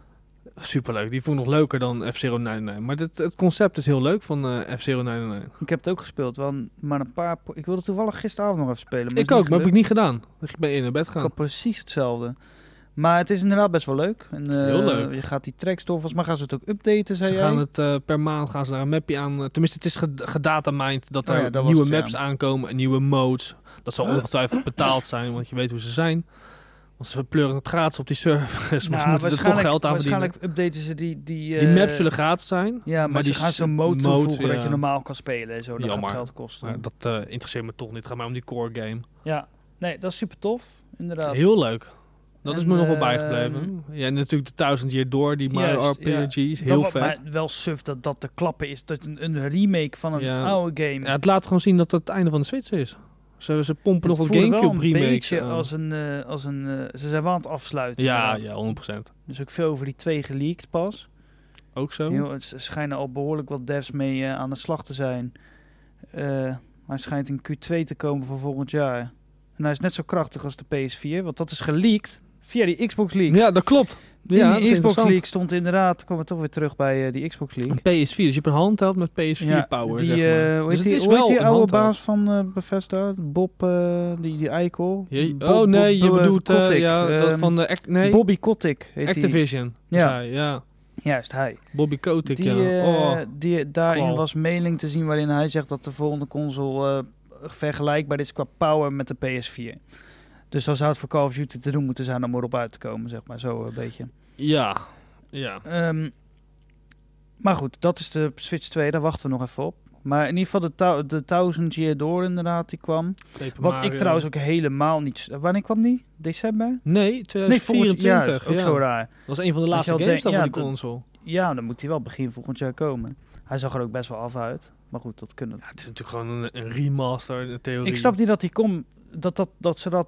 Superleuk. Die vond ik nog leuker dan F-Zero 99. Maar dit, het concept is heel leuk van eh F-Zero 99.
Ik heb het ook gespeeld, want maar een paar... po- Ik wilde toevallig gisteravond nog even spelen. Maar
Ik ook, maar heb ik niet gedaan. Ik ben in naar bed
Ik
gaan.
had precies hetzelfde. Maar het is inderdaad best wel leuk. En, eh,
Heel leuk.
Je gaat die tracks door. Volgens mij gaan ze het ook updaten, zei
Ze
jij.
gaan het eh, per maand gaan ze daar een mapje aan. eh, tenminste, het is ged- gedatamined dat
Oh
er
ja, dat was
nieuwe
het, ja.
maps aankomen en nieuwe modes. Dat zal ongetwijfeld betaald zijn, want je weet hoe ze zijn. Want ze pleuren het gratis op die servers. <laughs> Maar
Nou,
ze moeten er toch
waarschijnlijk-
geld aan verdienen.
Waarschijnlijk updaten ze die... Die,
Die
eh,
maps zullen gratis zijn.
Ja, maar,
Maar
die
die
ze gaan
s-
zo'n mode
mode,
toevoegen
ja.
dat je normaal kan spelen en zo. Dat
Jammer.
gaat geld kosten.
Maar dat eh, interesseert me toch niet. Het gaat mij om die core game.
Ja, nee, dat is super tof. Inderdaad.
Heel leuk. Dat is
En,
me nog wel
ehm,
bijgebleven. Ja, en natuurlijk de Thousand Year Door, die Mario
Juist, ja.
RPG's.
Dat
Heel
wa-
vet.
Maar wel suf dat dat te klappen is. Dat een, een remake van een
Ja.
oude game.
Ja, het laat gewoon zien dat dat het einde van de Switch is. Ze, ze pompen
Het
nog wat
voelde wel
Gamecube
een
remakes
beetje
aan.
als een... eh, als een eh, ze zijn wel aan het afsluiten.
Ja,
inderdaad.
ja, 100%.
Er is ook veel over die twee geleakt pas.
Ook zo.
Heel, het er schijnen al behoorlijk wat devs mee eh, aan de slag te zijn. Eh hij schijnt in Q2 te komen voor volgend jaar. En hij is net zo krachtig als de PS4, want dat is geleakt via die Xbox League.
Ja, dat klopt. ja,
in
dat is
die Xbox
interessant.
League stond inderdaad, komen we toch weer terug bij eh, die Xbox League.
Een PS4, dus je hebt een handheld met PS4
Ja,
power,
die,
zeg
eh,
maar.
hoe
Dus
heet
het
die,
is
hoe heet
wel
die
een
oude
handheld.
baas van eh Bethesda? Bob, eh, die, die eikel?
Jee-
Bob-
oh nee,
Bob-
je
Bob-
bedoelt eh,
Kotick,
ja, dat
ehm,
van de act, nee,
Bobby Kotick heet hij.
Activision.
Ja.
Ja. ja,
Juist, hij.
Bobby Kotick,
Die,
ja.
eh,
oh,
die, daarin
Kwal.
was mailing te zien waarin hij zegt dat de volgende console eh, vergelijkbaar is qua power met de PS4. Dus dan zou het voor Call of Duty te doen moeten zijn om erop uit te komen, zeg maar. Zo eh, een beetje.
ja, ja.
Ehm, maar goed, dat is de Switch 2, daar wachten we nog even op. Maar in ieder geval de, tau- de Thousand Year Door inderdaad, die kwam.
Paper
Wat ik
Mario.
trouwens ook helemaal niet... Wanneer kwam die? December?
Nee,
Nee, volgend jaar.
2024.
Ook
ja.
zo raar.
Dat was een van de
je
laatste
al
games
denkt-
dan van
ja,
die console.
Ja, dan moet hij wel begin volgend jaar komen. Hij zag er ook best wel af uit. Maar goed, dat kunnen...
Ja, het is natuurlijk gewoon een, een remaster, een theorie.
Ik snap niet dat hij komt... Dat, dat, dat ze dat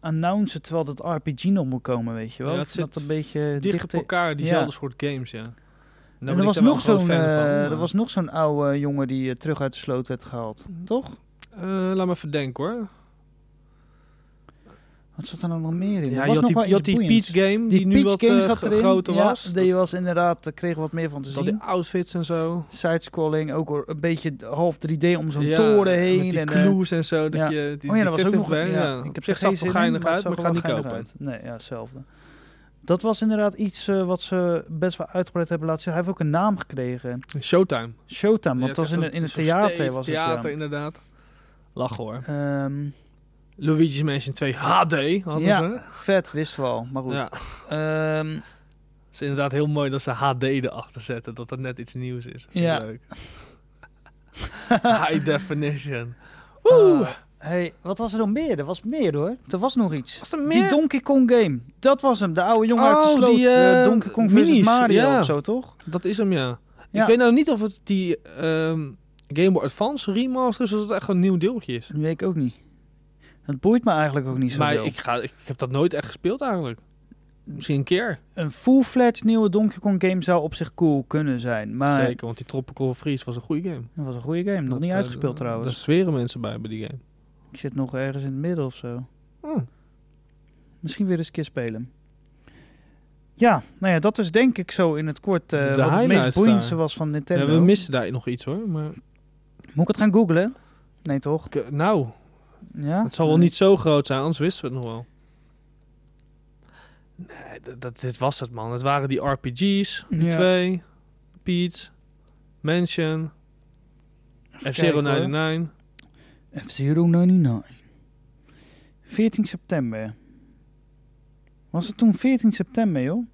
announcen terwijl dat RPG nog moet komen, weet je wel?
Ja,
Ik
het
vind
zit
dat een beetje
dicht op elkaar, diezelfde soort games, ja. Nou,
En
ben
er
ik
was,
daar wel
nog
een groot
zo'n,
fan van,
eh,
maar-
er was nog zo'n oude jongen die eh, terug uit de sloot werd gehaald, toch?
Eh, laat me even denken hoor.
Wat zat er nou nog meer in? Er was
Ja, je had
nog
die,
wel
je had
iets
die
boeiends.
Peach Game, die,
Die
nu
Peach
wat
Game
eh,
zat
ge-
erin.
groter
ja,
was.
Die
Dat-
was inderdaad, daar kregen we wat meer van te
dat
zien.
die outfits en zo.
Sidescrolling, ook hoor, een beetje half 3D om zo'n
Ja,
toren heen.
Met die
en, eh,
clues en zo. Dat
ja.
je die
oh ja, dat was ook
detective
nog...
werk,
ja,
Op
ik heb
zich
er
zag
geen
het
zin
wel
in,
geinig
het
uit,
zag
maar ik
er
ga
wel
niet
geinig
kopen.
uit. Nee, ja, hetzelfde. Dat was inderdaad iets eh, wat ze best wel uitgebreid hebben laten zien. Hij heeft ook een naam gekregen.
Showtime.
Showtime,
Ja,
want dat was
echt
in,
zo'n-
een- in het
zo'n
theater.
steeds
Was het,
theater,
ja.
inderdaad. Lach hoor.
Ehm,
Luigi's Mansion 2 HD hadden
ja,
ze.
vet, wist wel, maar goed.
Ja,
Ehm,
het is inderdaad heel mooi dat ze HD erachter zetten. Dat dat net iets nieuws is. Vind ik
Ja.
Leuk. High definition. Woe!
Ah, hey, wat was er nog meer? Er was meer hoor. Er was nog iets.
was er
Die Donkey Kong game. Dat was hem. De oude jongen uit de
Oh,
sloot.
die, eh,
eh, Donkey Kong versus
minis,
Mario
ja.
of zo, toch?
Dat is hem, ja.
Ja.
Ik weet nou niet of het die ehm, Game Boy Advance remaster is... of het echt een nieuw deeltje is.
Dat weet ik ook niet. Het boeit me eigenlijk ook niet zo
Maar ik, ga, ik heb dat nooit echt gespeeld eigenlijk. Misschien een keer.
Een full-fledged nieuwe Donkey Kong game zou op zich cool kunnen zijn. Maar
Zeker, want die Tropical Freeze was een goede game.
het was een goede game. Nog
Dat,
niet
eh,
uitgespeeld trouwens.
Daar zweren mensen bij bij die game.
Ik zit nog ergens in het midden of zo.
Hm.
Oh, Misschien weer eens een keer spelen. Ja, nou ja, dat is denk ik zo in het kort eh, wat
De
het meest
highlights daar.
boeiendste was van Nintendo.
Ja, we missen daar nog iets hoor. Maar
Moet ik het gaan googlen? Nee, toch?
ik, eh, nou,
Ja?
het zal wel niet zo groot zijn, anders wisten we het nog wel. Nee, dat, dat- dit was het man. Het waren die RPG's, die
Ja.
twee, Pete, Mansion,
Even kijken, hoor.
F-099.
F099. 14 nou, september. Was het toen 14 september, joh?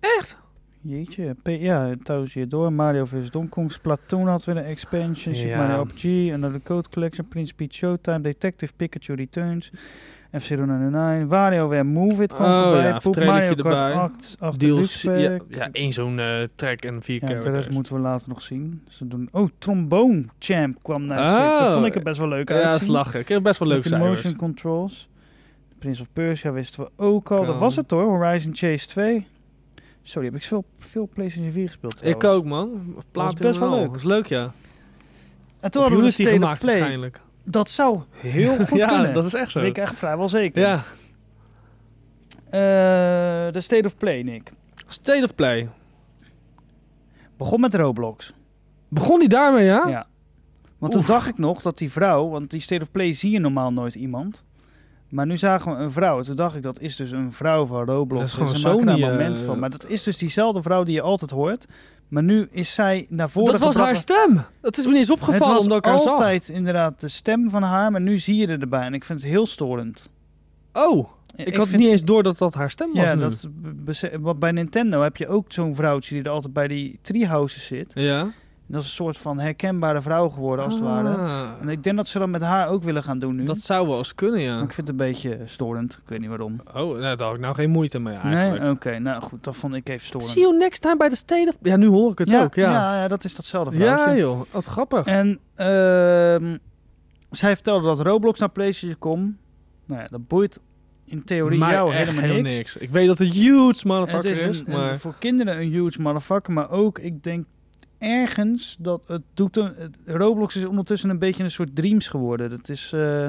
Echt?
Jeetje. P ja, trouwens hier door. Mario vs. Donkey Kong. Splatoon had weer een expansion. Super
Ja.
Mario RPG. Another Code Collection. Prince Peach Showtime. Detective Pikachu Returns. F099. WarioWare Move It kwam
Oh,
voorbij.
ja,
Poep,
trailertje
Mario Kart
erbij.
8. 8
Deals, ja,
Deluxe Pack.
ja, één zo'n eh, track en vier
Ja,
keer.
de rest moeten we later nog zien. Ze doen... Oh, Trombone Champ kwam naar
Oh.
Switch. Dat vond ik er best wel leuk
Ja,
uitzien.
slagen. Ik kreeg best wel leuk
Met de
cijfers.
motion controls. Prince of Persia wisten we ook al. Dat
Kan.
was het hoor, Horizon Chase 2. Zo, die heb ik veel, veel PlayStation 4 gespeeld
Ik
trouwens.
ook man. Plaat
best wel leuk.
Dat is leuk ja.
En toen hebben
Toen
we de
Unity
State of
gemaakt
Play.
waarschijnlijk.
Dat zou heel
<laughs>
goed
ja,
kunnen.
dat is echt zo.
weet ik echt vrijwel zeker.
Ja.
Eh, de State of Play, Nick.
State of Play.
Begon met Roblox.
Begon die daarmee, ja?
Ja. Want toen
Oh. Oef.
dacht ik nog dat die vrouw... Want die State of Play zie je normaal nooit iemand. Maar nu zagen we een vrouw. En toen dacht ik, dat is dus een vrouw van Roblox.
Dat is gewoon
en ze maken daar
Sony,
een moment
eh,
van. Maar dat is dus diezelfde vrouw die je altijd hoort. Maar nu is zij naar voren
dat was haar
gebracht.
stem. Dat is me niet eens
Het
opgevallen
was
omdat ik haar zag.
altijd inderdaad de stem van haar. Maar nu zie je er erbij. En ik vind het heel storend.
Oh, ik, had
vind-
niet eens door dat dat haar stem was
Ja,
nu.
dat, bese- want bij Nintendo heb je ook zo'n vrouwtje die er altijd bij die treehouses zit.
Ja.
En dat is een soort van herkenbare vrouw geworden als het ware.
Ah,
En ik denk dat ze dat met haar ook willen gaan doen nu.
Dat eh, zou wel eens kunnen, ja.
Maar ik vind het een beetje storend. Ik weet niet waarom.
Oh, nou, daar had ik nou geen moeite mee
nee,
eigenlijk.
oké. nou goed, dat vond ik even storend.
See you next time bij de State of... Ja, nu hoor ik het ook, ja. Ja,
ja, ja, dat is datzelfde vrouwtje.
joh. Wat grappig.
En ehm, zij vertelde dat Roblox naar PlayStation komt. Nou ja, dat boeit in theorie
Maar
jou
echt
helemaal
heel
niks.
Ik weet dat het huge
Het
motherfucker
is,
is,
een, een-
maar...
voor kinderen een huge motherfucker, maar ook, ik denk ergens dat het doet een, het- Roblox is ondertussen een beetje een soort dreams geworden. Dat is eh,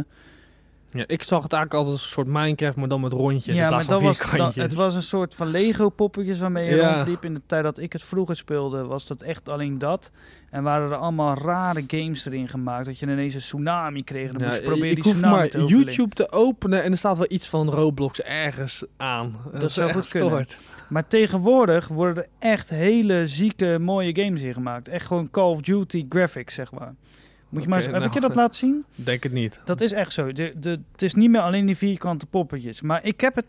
Ja, ik zag het eigenlijk altijd als een soort Minecraft, maar dan met rondjes in plaats van
dat was,
vierkantjes.
dat- het was een soort van Lego poppetjes waarmee je
Ja.
rondliep. In de tijd dat ik het vroeger speelde, was dat echt alleen dat. En waren er allemaal rare games erin gemaakt. Dat je ineens een tsunami kreeg. en Dan moest je
Ja,
proberen die
ik hoef
tsunami
maar
te overleven.
YouTube te openen en er staat wel iets van Roblox ergens aan. Dat,
zou
echt
goed kunnen.
gestoord.
Maar tegenwoordig worden er echt hele zieke, mooie games in gemaakt. Echt gewoon Call of Duty graphics, zeg maar. Moet je maar
Oké,
eens- heb
nou.
ik je dat laten zien?
Denk het niet.
Dat is echt zo. De, de, het is niet meer alleen die vierkante poppetjes. Maar ik heb het...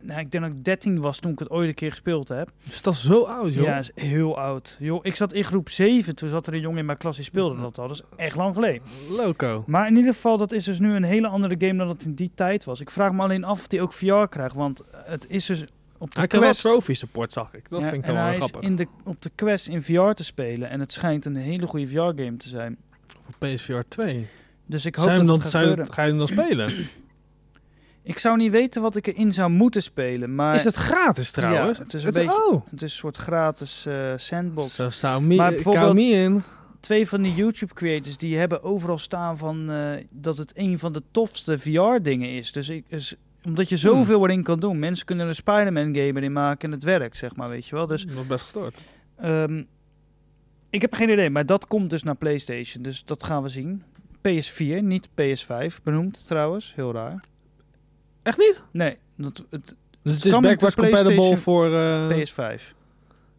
Nou, ik denk dat ik 13 was toen ik het ooit een keer gespeeld heb.
Is dat zo oud, joh?
Ja, is heel oud. Joh, ik zat in groep 7. Toen zat er een jongen in mijn klas die speelde dat al. Dat is echt lang geleden.
Loco.
Maar in ieder geval, dat is dus nu een hele andere game dan dat in die tijd was. Ik vraag me alleen af of die ook VR krijgt. Want het is dus op de
Hij kan wel
Quest...
trophy support, zag ik. Dat
Ja,
vind ik
en
dan wel
hij
grappig.
is in de, op de Quest in VR te spelen. En het schijnt een hele goede VR-game te zijn.
Voor PSVR 2.
Dus ik hoop
Zou je hem
dat het
dan,
gaat
zou je-
gebeuren.
ga je hem dan spelen?
Ik zou niet weten wat ik erin zou moeten spelen. Maar
is het gratis trouwens?
Ja, het is een
Het
beetje...
Oh!
Het is een soort gratis eh, sandbox.
Zo zou me,
Maar
eh,
bijvoorbeeld-
count me in.
twee van die YouTube creators die hebben overal staan van eh, dat het een van de tofste VR dingen is. Dus ik is omdat je
Hmm.
zoveel erin kan doen. Mensen kunnen er een Spider-Man game in maken en het werkt, zeg maar, weet je wel. Dus
Dus nog best gestoord.
ehm, ik heb geen idee, maar dat komt dus naar PlayStation. Dus dat gaan we zien. PS4, niet PS5 benoemd trouwens. Heel raar.
Echt niet?
Nee, dat, het
Dus
Coming
het is
to
backwards compatible
PlayStation
voor... eh,
PS5.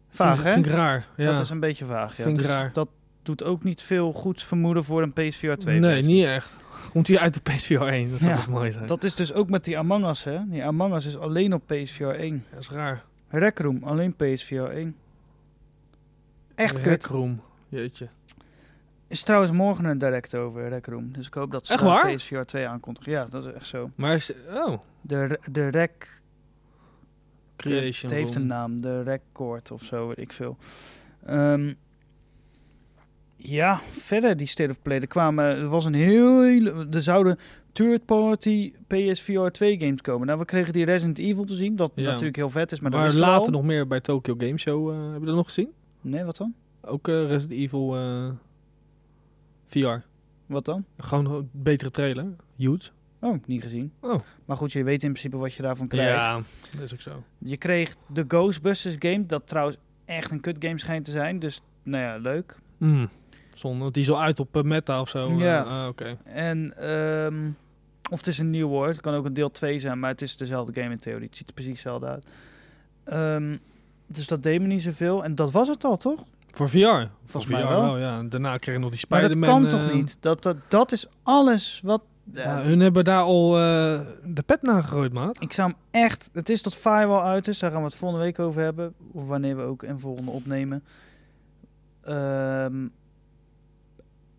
Vaag,
vind,
hè?
Vind ik raar. Ja.
Dat is een beetje vaag, ja.
Vind ik
Dus
raar.
Dat doet ook niet veel goeds vermoeden voor een PSVR 2.
nee,
versie.
niet echt. Komt hier uit de PSVR 1. Dat zou
Ja,
best mooi zijn. Dat,
Dat is dus ook met die Among Us, hè? Die Among Us is alleen op PSVR 1.
is raar.
Rec Room, alleen PSVR 1. Echt kut.
Rec-room. Jeetje.
Is trouwens morgen een direct over Rec Room. Dus ik hoop dat ze
Echt
daar
waar?
PSVR 2 aankondigen. Ja, dat is echt zo.
Maar is... Oh.
De, re- de Rec...
Creation
Het heeft
room.
een naam. De Record of zo, weet ik veel. Ehm, ja, verder die State of Play. Er kwamen... Er was een heel... Er zouden third-party PSVR 2 games komen. Nou, we kregen die Resident Evil te zien. Dat
Ja.
natuurlijk heel vet is, maar,
Maar,
dat wisten we
later
al.
nog meer bij Tokyo Game Show. eh, heb je dat nog gezien?
Nee, wat dan?
Ook eh, Resident Evil eh, VR.
Wat dan?
Gewoon een betere trailer. Huge.
Oh, niet gezien.
Oh.
Maar goed, je weet in principe wat je daarvan krijgt.
Ja, dat is ook zo.
Je kreeg de Ghostbusters game, dat trouwens echt een kut game schijnt te zijn. Dus, nou ja, leuk.
Mm. Zonde, want die is al uit op eh, meta of zo.
Ja.
Eh, ah, Oké.
En, ehm, of het is een nieuw hoor, het kan ook een deel 2 zijn, maar het is dezelfde game in theorie. Het ziet er precies hetzelfde uit. Ehm, dus dat deed me niet zoveel. En dat was het al, toch?
Voor VR.
Volgens
Voor
mij
VR
wel.
ja. En Daarna kreeg je nog die
Maar
Spider-Man.
dat kan
eh,
toch niet? Dat, dat, dat is alles wat...
ja,
Ja,
hun hebben daar al eh, de pet naar gegooid, maat.
Ik zou hem echt. Het is dat firewall uit is. Daar gaan we het volgende week over hebben. Of wanneer we ook een volgende opnemen. Ehm,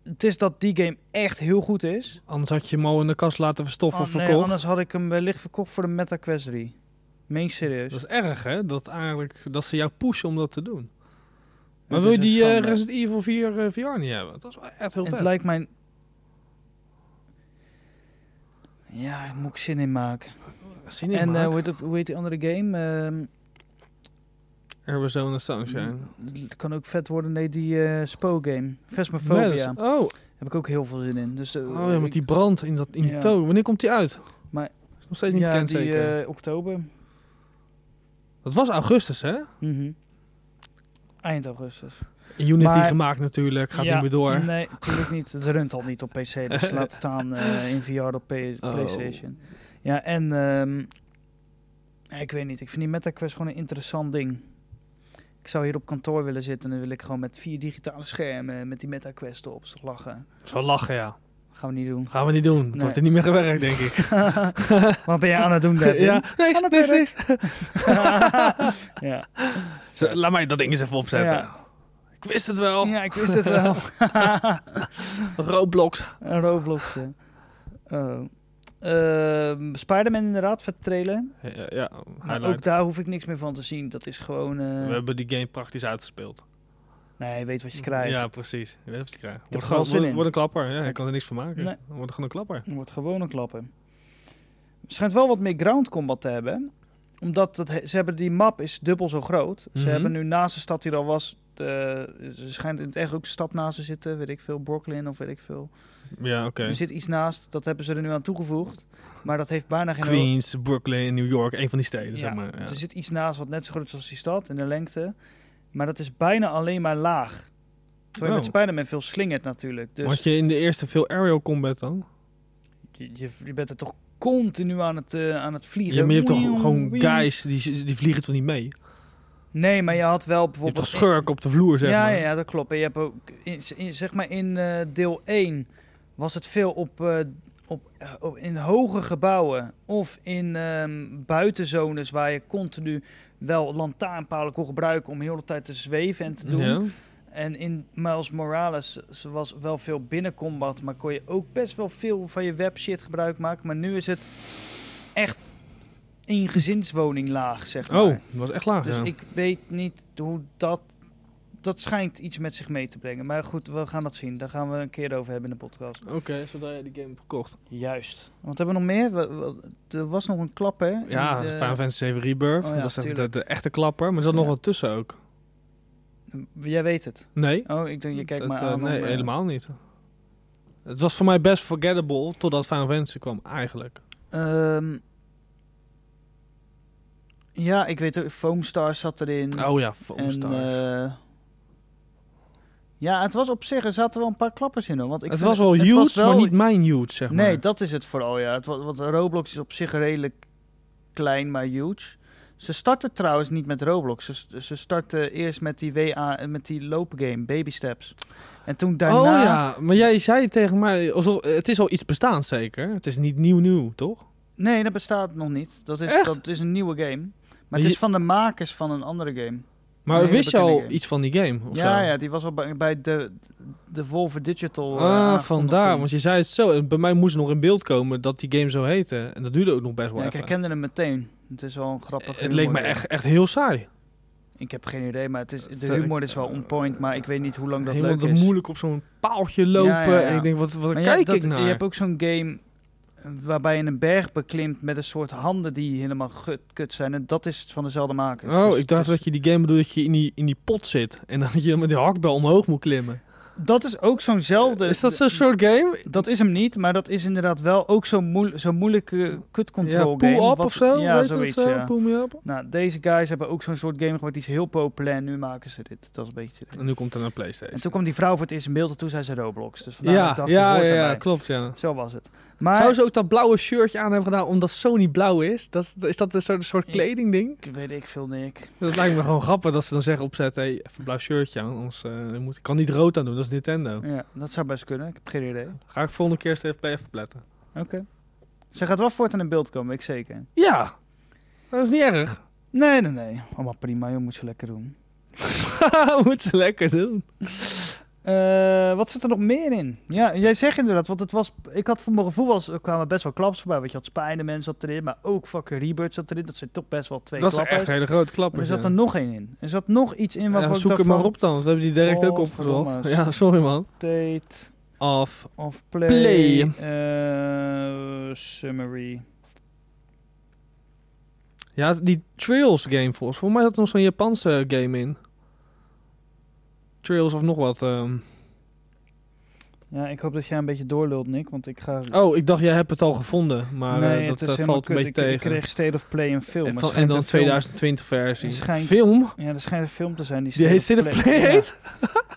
het is dat die game echt heel goed is.
Anders had je hem al in de kast laten verstoffen
Ah,
of
nee,
verkocht.
anders had ik hem wellicht verkocht voor de Meta Quest 3. Meen ik serieus.
Dat is erg, hè? Dat, eigenlijk, dat ze jou pushen om dat te doen. Maar
Het is
wil je die
een
eh,
schande.
Resident Evil 4 eh, VR niet hebben? Dat is wel echt heel
het
vet.
lijkt mij. Ja, daar moet ik zin in maken.
Zin in,
en eh,
maat.
hoe, heet dat, hoe heet die andere game? Ehm,
Arizona Sunshine.
het kan ook vet worden. Nee, die eh Spow-game. Phasmophobia.
Madness. Oh,
Heb ik ook heel veel zin in. Dus, eh,
oh ja,
ik-
met die brand in, dat, in die
Ja.
toon. Wanneer komt die uit?
Maar-
Is nog steeds niet
ja,
bekend
die,
zeker.
eh, oktober.
Dat was augustus, hè?
Mhm. Eind augustus.
In Unity
Maar-
gemaakt natuurlijk, gaat
Ja,
niet meer door.
Nee, natuurlijk niet. Het runt al niet op PC.
<laughs>
Dus laat staan eh, in VR op P-
Oh.
PlayStation. Ja, en ehm, ja, ik weet niet. Ik vind die MetaQuest gewoon een interessant ding. Ik zou hier op kantoor willen zitten en dan wil ik gewoon met vier digitale schermen met die MetaQuest op. Is toch lachen?
Het is wel lachen, ja.
Gaan we niet doen. <laughs>
Gaan we niet doen. Het
Nee.
wordt er niet meer gewerkt, denk ik.
<laughs> Wat ben je aan het doen, Devin?
ja, nee,
Aan het
nee, nee.
<laughs> ja.
Z- Laat mij dat ding eens even opzetten. Ik wist het wel.
ja, ik wist het wel.
<laughs> Roblox.
Een Roblox, ja. Oh. Ehm, Spider-Man inderdaad, vet trailer.
Ja, ja, ja,
Maar
highlight.
ook daar hoef ik niks meer van te zien. Dat is gewoon... eh,
We hebben die game praktisch uitgespeeld.
Nee, je weet wat je krijgt.
Ja, precies. Je weet wat je krijgt.
er
Wordt gewoon
wel zin
wordt,
in.
wordt een klapper. Ja, ik kan er niks van maken.
Nee.
Wordt gewoon een klapper.
Het wordt gewoon een klappen. Schijnt wel wat meer ground combat te hebben. Omdat dat he- ze hebben die map is dubbel zo groot. Ze
Mhm.
hebben nu naast de stad die er al was... de- ze schijnt in het echt ook een stad naast te zitten. Weet ik veel, Brooklyn of weet ik veel.
Ja, oké.
Er zit iets naast, dat hebben ze er nu aan toegevoegd. Maar dat heeft bijna geen...
Queens, Brooklyn, New York. Een van die steden,
Ja,
zeg maar. Ja.
Er zit iets naast wat net zo groot is als die stad in de lengte. Maar dat is bijna alleen maar laag. Terwijl je
Oh.
met Spider-Man veel slingert natuurlijk. Dus
Had je in de eerste veel aerial combat dan?
je, je, je bent er toch continu aan het, eh, aan het vliegen.
Ja, maar je hebt
Wieuw,
toch gewoon
wieuw.
guys, die, die vliegen toch niet mee?
Nee, maar je had wel
Je hebt
bijvoorbeeld...
toch schurken op de vloer, zeg
ja,
maar?
ja, ja, dat klopt. En je hebt ook, in, in- zeg maar in eh, deel 1 was het veel op, eh, op, eh, op- in hoge gebouwen of in ehm, buitenzones waar je continu wel lantaarnpalen kon gebruiken om heel de tijd te zweven en te doen.
Ja.
En in Miles Morales ze was wel veel binnencombat, maar kon je ook best wel veel van je webshit gebruik maken. Maar nu is het echt in gezinswoning laag, zeg maar.
Oh, dat was echt laag,
Dus
ja.
ik weet niet hoe dat... Dat schijnt iets met zich mee te brengen. Maar goed, we gaan dat zien. Daar gaan we een keer over hebben in de podcast.
Oké, zodra je die game hebt gekocht.
Juist. Wat hebben we nog meer? We- we- Er was nog een klap, hè? In
Ja,
de-
Final Fantasy 7 Rebirth.
eh, Oh ja,
dat is echt de,
tuurlijk.
de echte klapper. Maar er zat nog
Ja.
wat tussen ook.
Jij weet het.
Nee.
Oh, ik denk, je kijkt
dat,
maar
eh,
aan. om,
nee,
eh,
helemaal niet. Het was voor mij best forgettable totdat Final Fantasy kwam, eigenlijk.
Ehm, ja, ik weet ook, Foam Stars zat erin.
Oh ja,
En,
Foamstars.
eh, ja, het was op zich, er zaten wel een paar klappers in. Hoor, want ik
het
vind
was wel huge,
was wel-
maar niet mijn huge, zeg maar.
Nee, dat is het vooral, ja. Het, wa- want Roblox is op zich redelijk klein, maar huge. Ze starten trouwens niet met Roblox. Ze, s- ze starten eerst met die WA, en met die loopgame, Baby Steps. En toen daarna...
Oh ja, maar jij zei tegen mij, alsof, het is al iets bestaans zeker? Het is niet nieuw nieuw, toch?
Nee, dat bestaat nog niet. Dat is,
Echt?
dat is een nieuwe game. Maar
Je-
het is van de makers van een andere game.
Maar
Nee,
wist je
dat ken
al
ik niet.
iets van die game? Of
Ja,
zo?
ja, die was al bij, bij de, de Volver Digital. eh,
Ah,
aangekondigd
vandaar.
toen.
Want je zei het zo. En bij mij moest nog in beeld komen dat die game zo heette. En dat duurde ook nog best wel
Ja, ik
even.
herkende hem meteen. Het is wel een grappig
het leek me
humor.
echt, echt heel saai.
Ik heb geen idee, maar het is, de
Het, eh,
humor is wel on point, maar ik weet niet hoe lang dat
Helemaal
leuk
dat
is.
moeilijk op zo'n paaltje lopen.
Ja, ja, ja.
En ik denk, wat, wat
Maar je
kijk
hebt dat-
ik naar?
Je hebt ook zo'n game eh, waarbij je een berg beklimt met een soort handen die helemaal gut, kut zijn. En dat is van dezelfde makers.
oh,
Dus
ik dacht
het is-
dat je die game bedoelt dat je in die, in die pot zit. En dat je dan met die hakbel omhoog moet klimmen.
Dat is ook zo'nzelfde...
is dat zo'n soort game?
Dat is hem niet, maar dat is inderdaad wel ook zo'n moe, zo moeilijke cut control
ja,
game.
pull up
wat-
of zo?
Ja,
weet je
zoiets,
dat zo?
ja.
Pull me up?
Nou, deze guys hebben ook zo'n soort game gemaakt. Die is heel populair en nu maken ze dit. Dat is een beetje... het idee.
En nu komt er een Playstation.
En toen kwam die vrouw voor het eerst in beeld en toen zei ze Roblox. Dus vandaar dat ik
Ja,
dacht,
ja,
die hoort
ja, ja,
erbij.
klopt, ja.
Zo was het. Maar
Zou ze ook dat blauwe shirtje aan hebben gedaan omdat Sony blauw is? Dat, is dat een soort, soort
Ik-
kledingding?
ik weet ik veel, Nick.
Dat lijkt me gewoon grappig dat ze dan zeggen opzet, hé, hey, even een blauw shirtje aan, anders eh, ik moet, ik kan niet rood aan doen, dat is Nintendo.
Ja, dat zou best kunnen. Ik heb geen idee.
Ga ik volgende keer eens even play even pletten.
Ze gaat wel voortaan in beeld komen, ik zeker.
Ja, dat is niet erg. <laughs>
Nee, nee, nee. Allemaal prima, joh. Moet ze lekker doen. <laughs>
moet ze lekker doen.
Eh, wat zit er nog meer in? Ja, jij zegt inderdaad, want het was... Ik had voor mijn gevoel, was, er kwamen best wel klaps voorbij. Want je had Spider-Man zat erin, maar ook fucking Rebirth zat erin. Dat zijn toch best wel twee
dat is
klappers.
echt hele grote
Maar er
klappers.
zat
ja.
er nog één in. Er zat nog iets in
Ja,
waarvan ik Oh,
zoek
dacht
hem maar
van,
op dan, want we hebben die direct ook opgezocht.
Godverdomme.
Ja, sorry man.
Date
Af.
of play.
Play.
eh, summary.
Ja, die Trails game volgens Volgens mij zat er nog zo'n Japanse game in. Trails of nog wat. ehm.
Ja, ik hoop dat jij een beetje doorlult, Nick. Want ik ga...
Oh, ik dacht jij hebt het al gevonden, maar eh,
nee,
dat
het is
eh,
helemaal
valt een
kut.
beetje
ik,
tegen.
ik kreeg State of Play een film.
En,
Het
van- en
schijnt
dan
een film-
2020 versie.
Het schijnt-
Film?
Ja, er schijnt een film te zijn die
Die heet State of Play heet?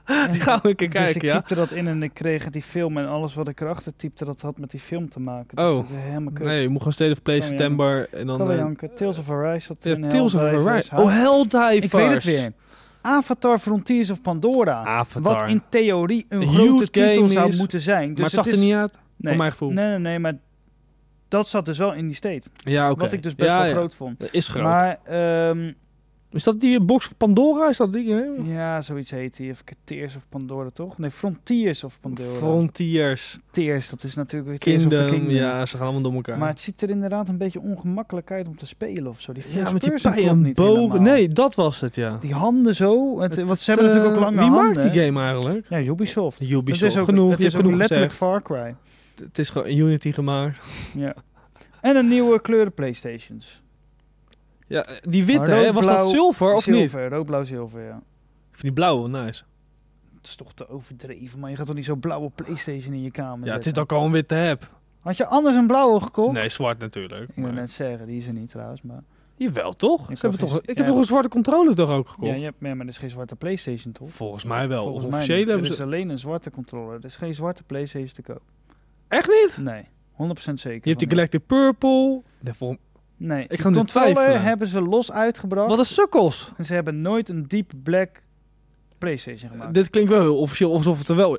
Ja.
Die gaan we een keer
dus ik
kijken, ja?
typte dat in en ik kreeg die film en alles wat ik erachter typte, dat had met die film te maken. Dus
Oh.
dat is helemaal kut.
Nee, je moet gewoon State of Play
Kan wel
september en
Kan
dan...
wel
eh,
janken. Tales of Arise zat
ja,
erin.
Tales of
Helldivers,
Arise.
Ha-
Oh, Helldivers!
Ik weet het weer. Avatar Frontiers of Pandora.
Avatar.
Wat in dus theorie een
Een
grote
huge
titel
game
zou
is,
moeten zijn. Dus
maar het zag
is,
er niet uit,
nee,
voor mijn gevoel.
Nee, nee, nee, maar dat zat dus wel in die state.
Ja, oké.
Wat ik dus best
Ja,
wel
ja.
groot vond.
Dat is groot.
Maar ehm,
Is dat die eh, box van Pandora? Is dat die? hè?
ja, zoiets heet die. Even kijken, Tears of Pandora, toch? Nee, Frontiers of Pandora.
Frontiers.
Tears, dat is natuurlijk weer Tears of the
Kingdom.
Kingdom.
Ja, ze gaan allemaal door elkaar.
Maar het ziet er inderdaad een beetje ongemakkelijk uit om te spelen of zo. Die
ja,
first
met die
person
pij
klopt
en
niet
boven...
helemaal.
Nee, dat was het, ja.
Die handen zo. Het,
Het
want
is,
ze hebben natuurlijk ook
eh,
lange
Wie
handen.
maakt die game eigenlijk?
game? Ja, Ubisoft.
Ubisoft.
Het is ook,
genoeg,
het
je
is
hebt
ook
genoeg
letterlijk
gezegd.
Far Cry.
Het is gewoon Unity gemaakt.
Ja. En een nieuwe kleuren Playstations.
Ja, die witte,
Maar rood,
hè? was
blauw,
dat zilver of niet? Ik
zilver, rood, blauw, zilver, ja.
vind die blauwe wel nice.
Het is toch te overdreven, maar je gaat toch niet zo'n blauwe Playstation in je kamer
Ja, het
zetten?
is dan ook al een witte heb.
Had je anders een blauwe gekocht?
Nee, zwart natuurlijk.
Ik wil
maar-
net zeggen, die is er niet trouwens, maar...
Jawel, toch?
Ik
Ik, heb,
heb
toch,
geen-
een- ik
ja,
heb toch een zwarte controller toch ook gekocht?
Ja, je hebt, nee, maar er is geen zwarte Playstation, toch?
Volgens mij wel.
Volgens mij
Officieel
niet.
hebben ze...
Er is alleen een zwarte controller. Er is geen zwarte Playstation te koop.
Echt niet?
Nee, 100% zeker.
Je hebt die
van
Galactic Purple. Nee, vol-
niet. Nee,
Ik
die
ga nu
controller
twijfelen.
hebben ze los uitgebracht.
Wat een sukkels.
En ze hebben nooit een deep black Playstation gemaakt.
Dit klinkt wel heel officieel, alsof het er wel...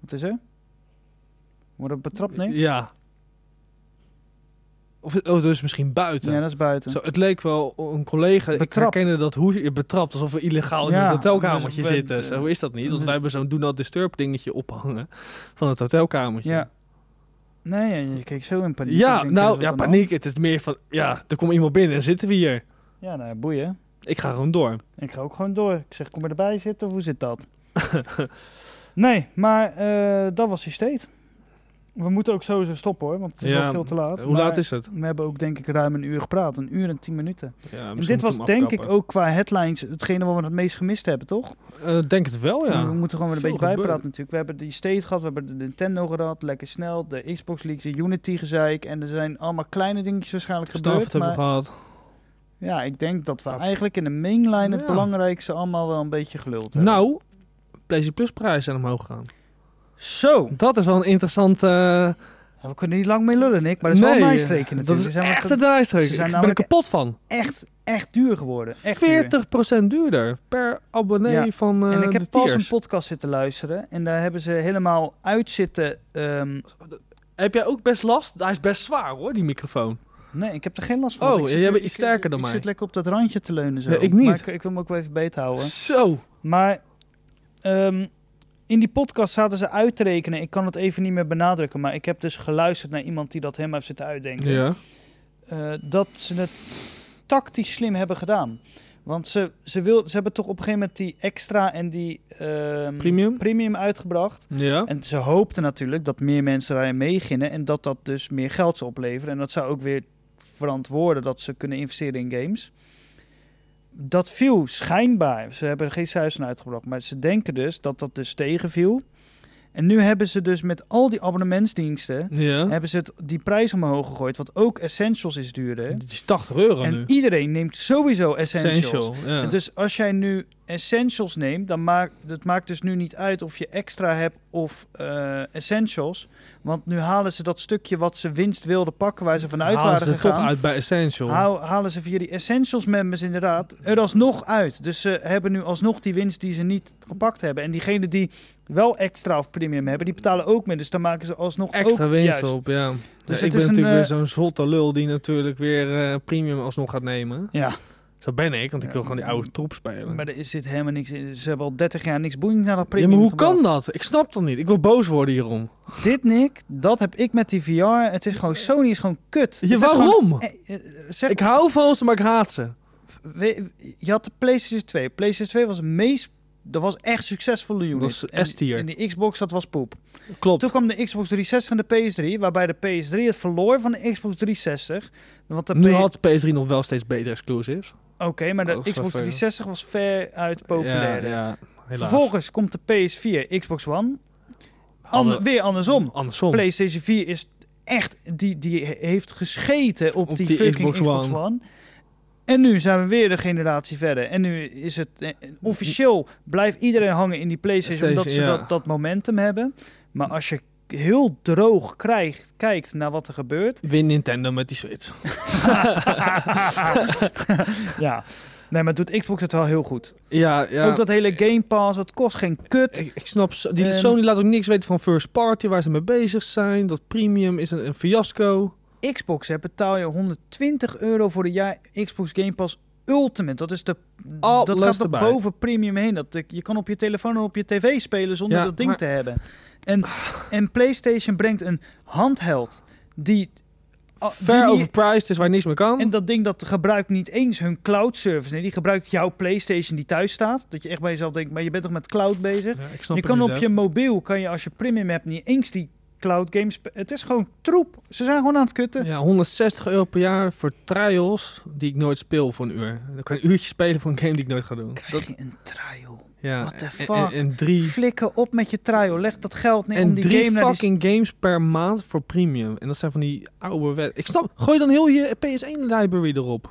Wat is er? Wordt het betrapt, nee?
Ja. Of oh, dus misschien buiten.
Ja, dat is buiten.
Zo, het leek wel een collega, ik
Betrapt.
herkende dat hoe je betrapt, alsof we illegaal in
Ja,
het
dus
hotelkamertje
we-
zitten. Zo is dat niet, want
dus-
wij hebben zo'n do not disturb dingetje ophangen van het hotelkamertje.
Ja. Nee, ja, je keek zo in paniek.
Ja,
Ik denk, is
nou,
wat
ja,
aan de
paniek. Het is meer van, ja, er komt iemand binnen en zitten we hier.
hand. Ja, nou, boeien.
Ik ga gewoon door.
Ik ga ook gewoon door. Ik zeg, kom erbij zitten
<laughs>
of hoe zit dat? nee, maar eh, dat was die state. We moeten ook sowieso stoppen hoor, want het is
Ja,
al veel te laat.
Hoe
Maar
laat is het?
We hebben ook denk ik ruim een uur gepraat. Een uur en tien minuten.
Ja,
En dit was denk ik ook qua headlines hetgene waar we het meest gemist hebben, toch?
Eh, denk het wel, ja.
We moeten gewoon weer een
Veel
beetje bijpraten
gebeurt.
natuurlijk. We hebben die State gehad, we hebben de Nintendo gehad, lekker snel. De Xbox League, de Unity gezeik. En er zijn allemaal kleine dingetjes waarschijnlijk
Stafford
gebeurd.
hebben we
Maar
gehad.
ja, ik denk dat we eigenlijk in de mainline het
Ja.
belangrijkste allemaal wel een beetje geluld hebben.
Nou, PlayStation Plus prijzen zijn omhoog gegaan.
Zo!
Dat is wel een interessante... eh,
Ja, we kunnen niet lang mee lullen, Nick. Maar dat is
nee,
wel een lijstrekening
Dat
natuurlijk.
is
Ze zijn
echt
wat-
een lijstrekening.
ze
Ik
zijn
ben er
namelijk-
kapot van.
echt, echt duur geworden. Echt duur.
40% duurder per abonnee
Ja.
van eh
En ik heb
de
pas
tiers.
een podcast zitten luisteren. En daar hebben ze helemaal uit zitten. ehm,
Heb jij ook best last? Hij is best zwaar hoor, die microfoon.
nee, ik heb er geen last van.
Oh,
Ik zit-
jij bent
ik-
iets sterker dan
ik,
mij.
Ik zit lekker op dat randje te leunen zo.
Nee, ik niet.
Maar ik, ik wil hem ook wel even beet houden.
Zo.
Maar ehm, in die podcast zaten ze uit te rekenen. Ik kan het even niet meer benadrukken. Maar ik heb dus geluisterd naar iemand die dat helemaal heeft zitten uitdenken.
Ja.
eh, dat ze het tactisch slim hebben gedaan. Want ze, ze, wil, ze hebben toch op een gegeven moment die extra en die ehm,
Premium?
premium uitgebracht.
Ja.
En ze hoopten natuurlijk dat meer mensen daarin meegingen en dat dat dus meer geld zou opleveren. En dat zou ook weer verantwoorden dat ze kunnen investeren in games. Dat viel schijnbaar. Ze hebben er geen cijfers van uitgebracht, maar ze denken dus dat dat dus tegenviel. En nu hebben ze dus met al die abonnementsdiensten
Ja.
hebben ze het, die prijs omhoog gegooid. Want ook Essentials is duurder.
Die is 80 euro
En
nu.
iedereen neemt sowieso Essentials.
ja.
En Dus als jij nu essentials neemt, dan maakt het maakt dus nu niet uit of je extra hebt of eh, essentials. Want nu halen ze dat stukje wat ze winst wilden pakken, waar ze vanuit
Halen
waren
ze er toch
gegaan.
uit bij Essential.
hou- halen ze via die essentials members inderdaad er alsnog uit. Dus ze hebben nu alsnog die winst die ze niet gepakt hebben. En diegenen die wel extra of premium hebben, die betalen ook meer. Dus dan maken ze alsnog
Extra
ook
winst
juist.
op, ja.
Dus
Ja,
het
ik
is
ben
een,
natuurlijk weer
eh,
zo'n zotte lul die natuurlijk weer eh, premium alsnog gaat nemen.
Ja,
Zo ben ik, want ik
Ja,
wil gewoon die oude troep spelen.
maar er zit helemaal niks in. Ze hebben al 30 jaar niks boeiend naar dat
ja,
premium
maar hoe
gebracht.
kan dat? Ik snap dat niet. Ik wil boos worden hierom.
Dit, Nick, dat heb ik met die VR. Het is gewoon, Sony is gewoon kut. Het
Ja,
is
waarom?
gewoon- eh, eh, zeg,
Ik hou van ze, maar ik haat ze.
we- je had de PlayStation 2. PlayStation 2 was het meest... Dat was echt succesvolle unit.
was
En-
S-tier.
En die Xbox, dat was poep.
Klopt.
Toen kwam de Xbox 360 en de PS3, waarbij de PS3 het verloor van de Xbox 360. Want de
Nu
P-
had PS3 nog wel steeds betere exclusives.
Oké, maar de
Oh, sorry.
Xbox 360 was ver uit populair.
Ja, ja helaas.
Vervolgens komt de PS4, Xbox One.
Hadden-
Ander- weer andersom.
Andersom.
PlayStation 4 is echt, die, die heeft gescheten op,
Op
die,
die
fucking Xbox,
Xbox
One. En nu zijn we weer de generatie verder. En nu is het eh, officieel, blijft iedereen hangen in die PlayStation, omdat ze
Station, ja.
dat, dat momentum hebben. Maar als je heel droog krijgt, kijkt naar wat er
<laughs>
gebeurt. <laughs>
Win Nintendo met die Switch.
ja, nee, maar doet Xbox het wel heel goed.
Ja, ja.
Ook dat hele Game Pass, dat kost geen kut.
Ik, ik snap, zo- die
Ehm.
Sony laat ook niks weten van first party, waar ze mee bezig zijn. Dat premium is een, een fiasco.
Xbox, hè, betaal je 120 euro voor de jaar Xbox Game Pass Ultimate. Dat is de
Alles
dat gaat er
erbij.
boven premium heen. Dat, eh, je kan op je telefoon en op je tv spelen zonder
Ja,
dat ding
maar-
te hebben. En, en PlayStation brengt een handheld die ah, die
Ver
niet-
overpriced is waar je niks meer kan.
en dat ding dat gebruikt niet eens hun cloud service. Nee, die gebruikt jouw PlayStation die thuis staat. Dat je echt bij jezelf denkt, maar je bent toch met cloud bezig?
Ja, ik snap
je
het
kan op
inderdaad.
je mobiel, kan je als je premium hebt, niet eens die cloud games. spe- Het is gewoon troep. Ze zijn gewoon aan het kutten.
Ja, 160 euro per jaar voor trials die ik nooit speel voor een uur. Dan kan je een uurtje spelen voor een game die ik nooit ga doen.
Krijg
Dat,
je een trial.
ja.
what the
en-
fuck?
En, en drie,
Flikken op met je trial. Leg dat geld neer om
en
die
drie
game naar die...
fucking games per maand voor premium. En dat zijn van die oude wet. Ik snap, gooi dan heel je PS1 library erop.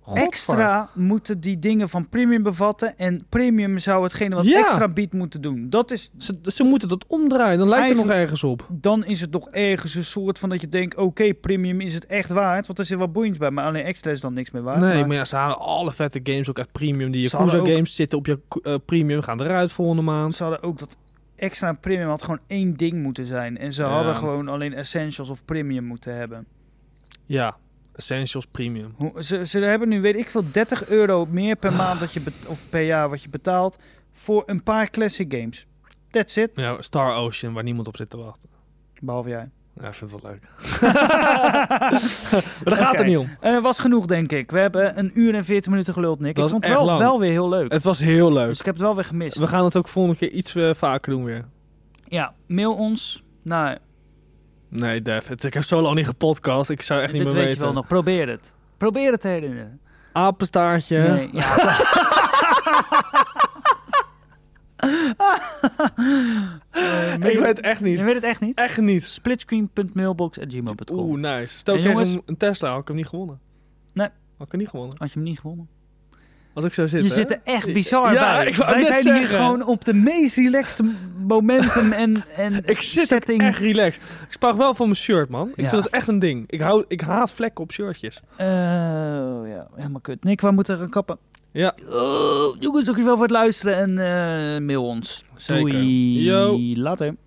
Godver.
Extra moeten die dingen van premium bevatten. En premium zou hetgene wat
Ja.
extra biedt moeten doen. Dat is,
Ze, ze moeten dat omdraaien, dan lijkt het nog
Eigenlijk-
ergens op.
dan is het nog ergens een soort van dat je denkt... Oké, premium is het echt waard. Want er zit wel boeiends bij. Maar alleen extra is dan niks meer waard.
nee,
maar-
maar ja, ze halen alle vette games ook uit premium. Die
Ze hadden
Yakuza
ook-
games zitten op je eh, premium, gaan eruit volgende maand.
ze hadden ook dat extra en premium had gewoon één ding moeten zijn. En ze
Ja.
hadden gewoon alleen essentials of premium moeten hebben.
Ja, Essentials Premium.
Hoe- Ze, ze hebben nu, weet ik veel, 30 euro meer per maand dat je bet- of per jaar wat je betaalt voor een paar classic games. That's it.
Ja, Star Ocean, waar niemand op zit te wachten.
Behalve
<laughs>
jij.
Ja, ik vind het wel leuk. maar daar gaat
Oké.
het niet om.
Eh, was genoeg, denk ik. We hebben een uur en 40 minuten geluld, Nick.
Dat
ik
is
vond het
echt
wel,
lang.
wel weer heel leuk.
Het was heel leuk.
Dus ik heb het wel weer gemist.
We gaan het ook volgende keer iets eh, vaker doen weer.
Ja, mail ons naar
Nee, David, ik heb zo lang niet gepodcast. Ik zou echt niet
Dit
meer
weet
weten.
je wel nog. Probeer het. Probeer het te herinneren.
Apenstaartje.
Nee, ja.
<laughs>
Eh, mail-
Ik weet het echt
Je
niet.
weet het echt niet?
Echt niet.
Splitscreen.mailbox.gmail.com
Oeh, nou. nice. Stel,
En
ik kreeg
jongens-
een, een Tesla, had ik hem niet gewonnen.
Nee.
Had ik hem niet gewonnen.
Had je hem niet gewonnen.
Als ik zo zit,
Je
hè?
zit er echt bizar
Ja,
bij.
ik wou
Wij
net
zijn hier
zeggen.
gewoon op de meest relaxed momentum en, en
<laughs> Ik zit ook
setting.
Echt relaxed. Ik spaar wel van mijn shirt, man. Ik
Ja.
vind dat echt een ding. Ik, hou, ik haat vlekken op shirtjes.
Eh, ja, helemaal kut. Nick, we moeten gaan kappen.
Ja.
Oh, jongens, dankjewel voor het luisteren en eh, mail ons.
Zeker.
Doei.
Yo.
Later.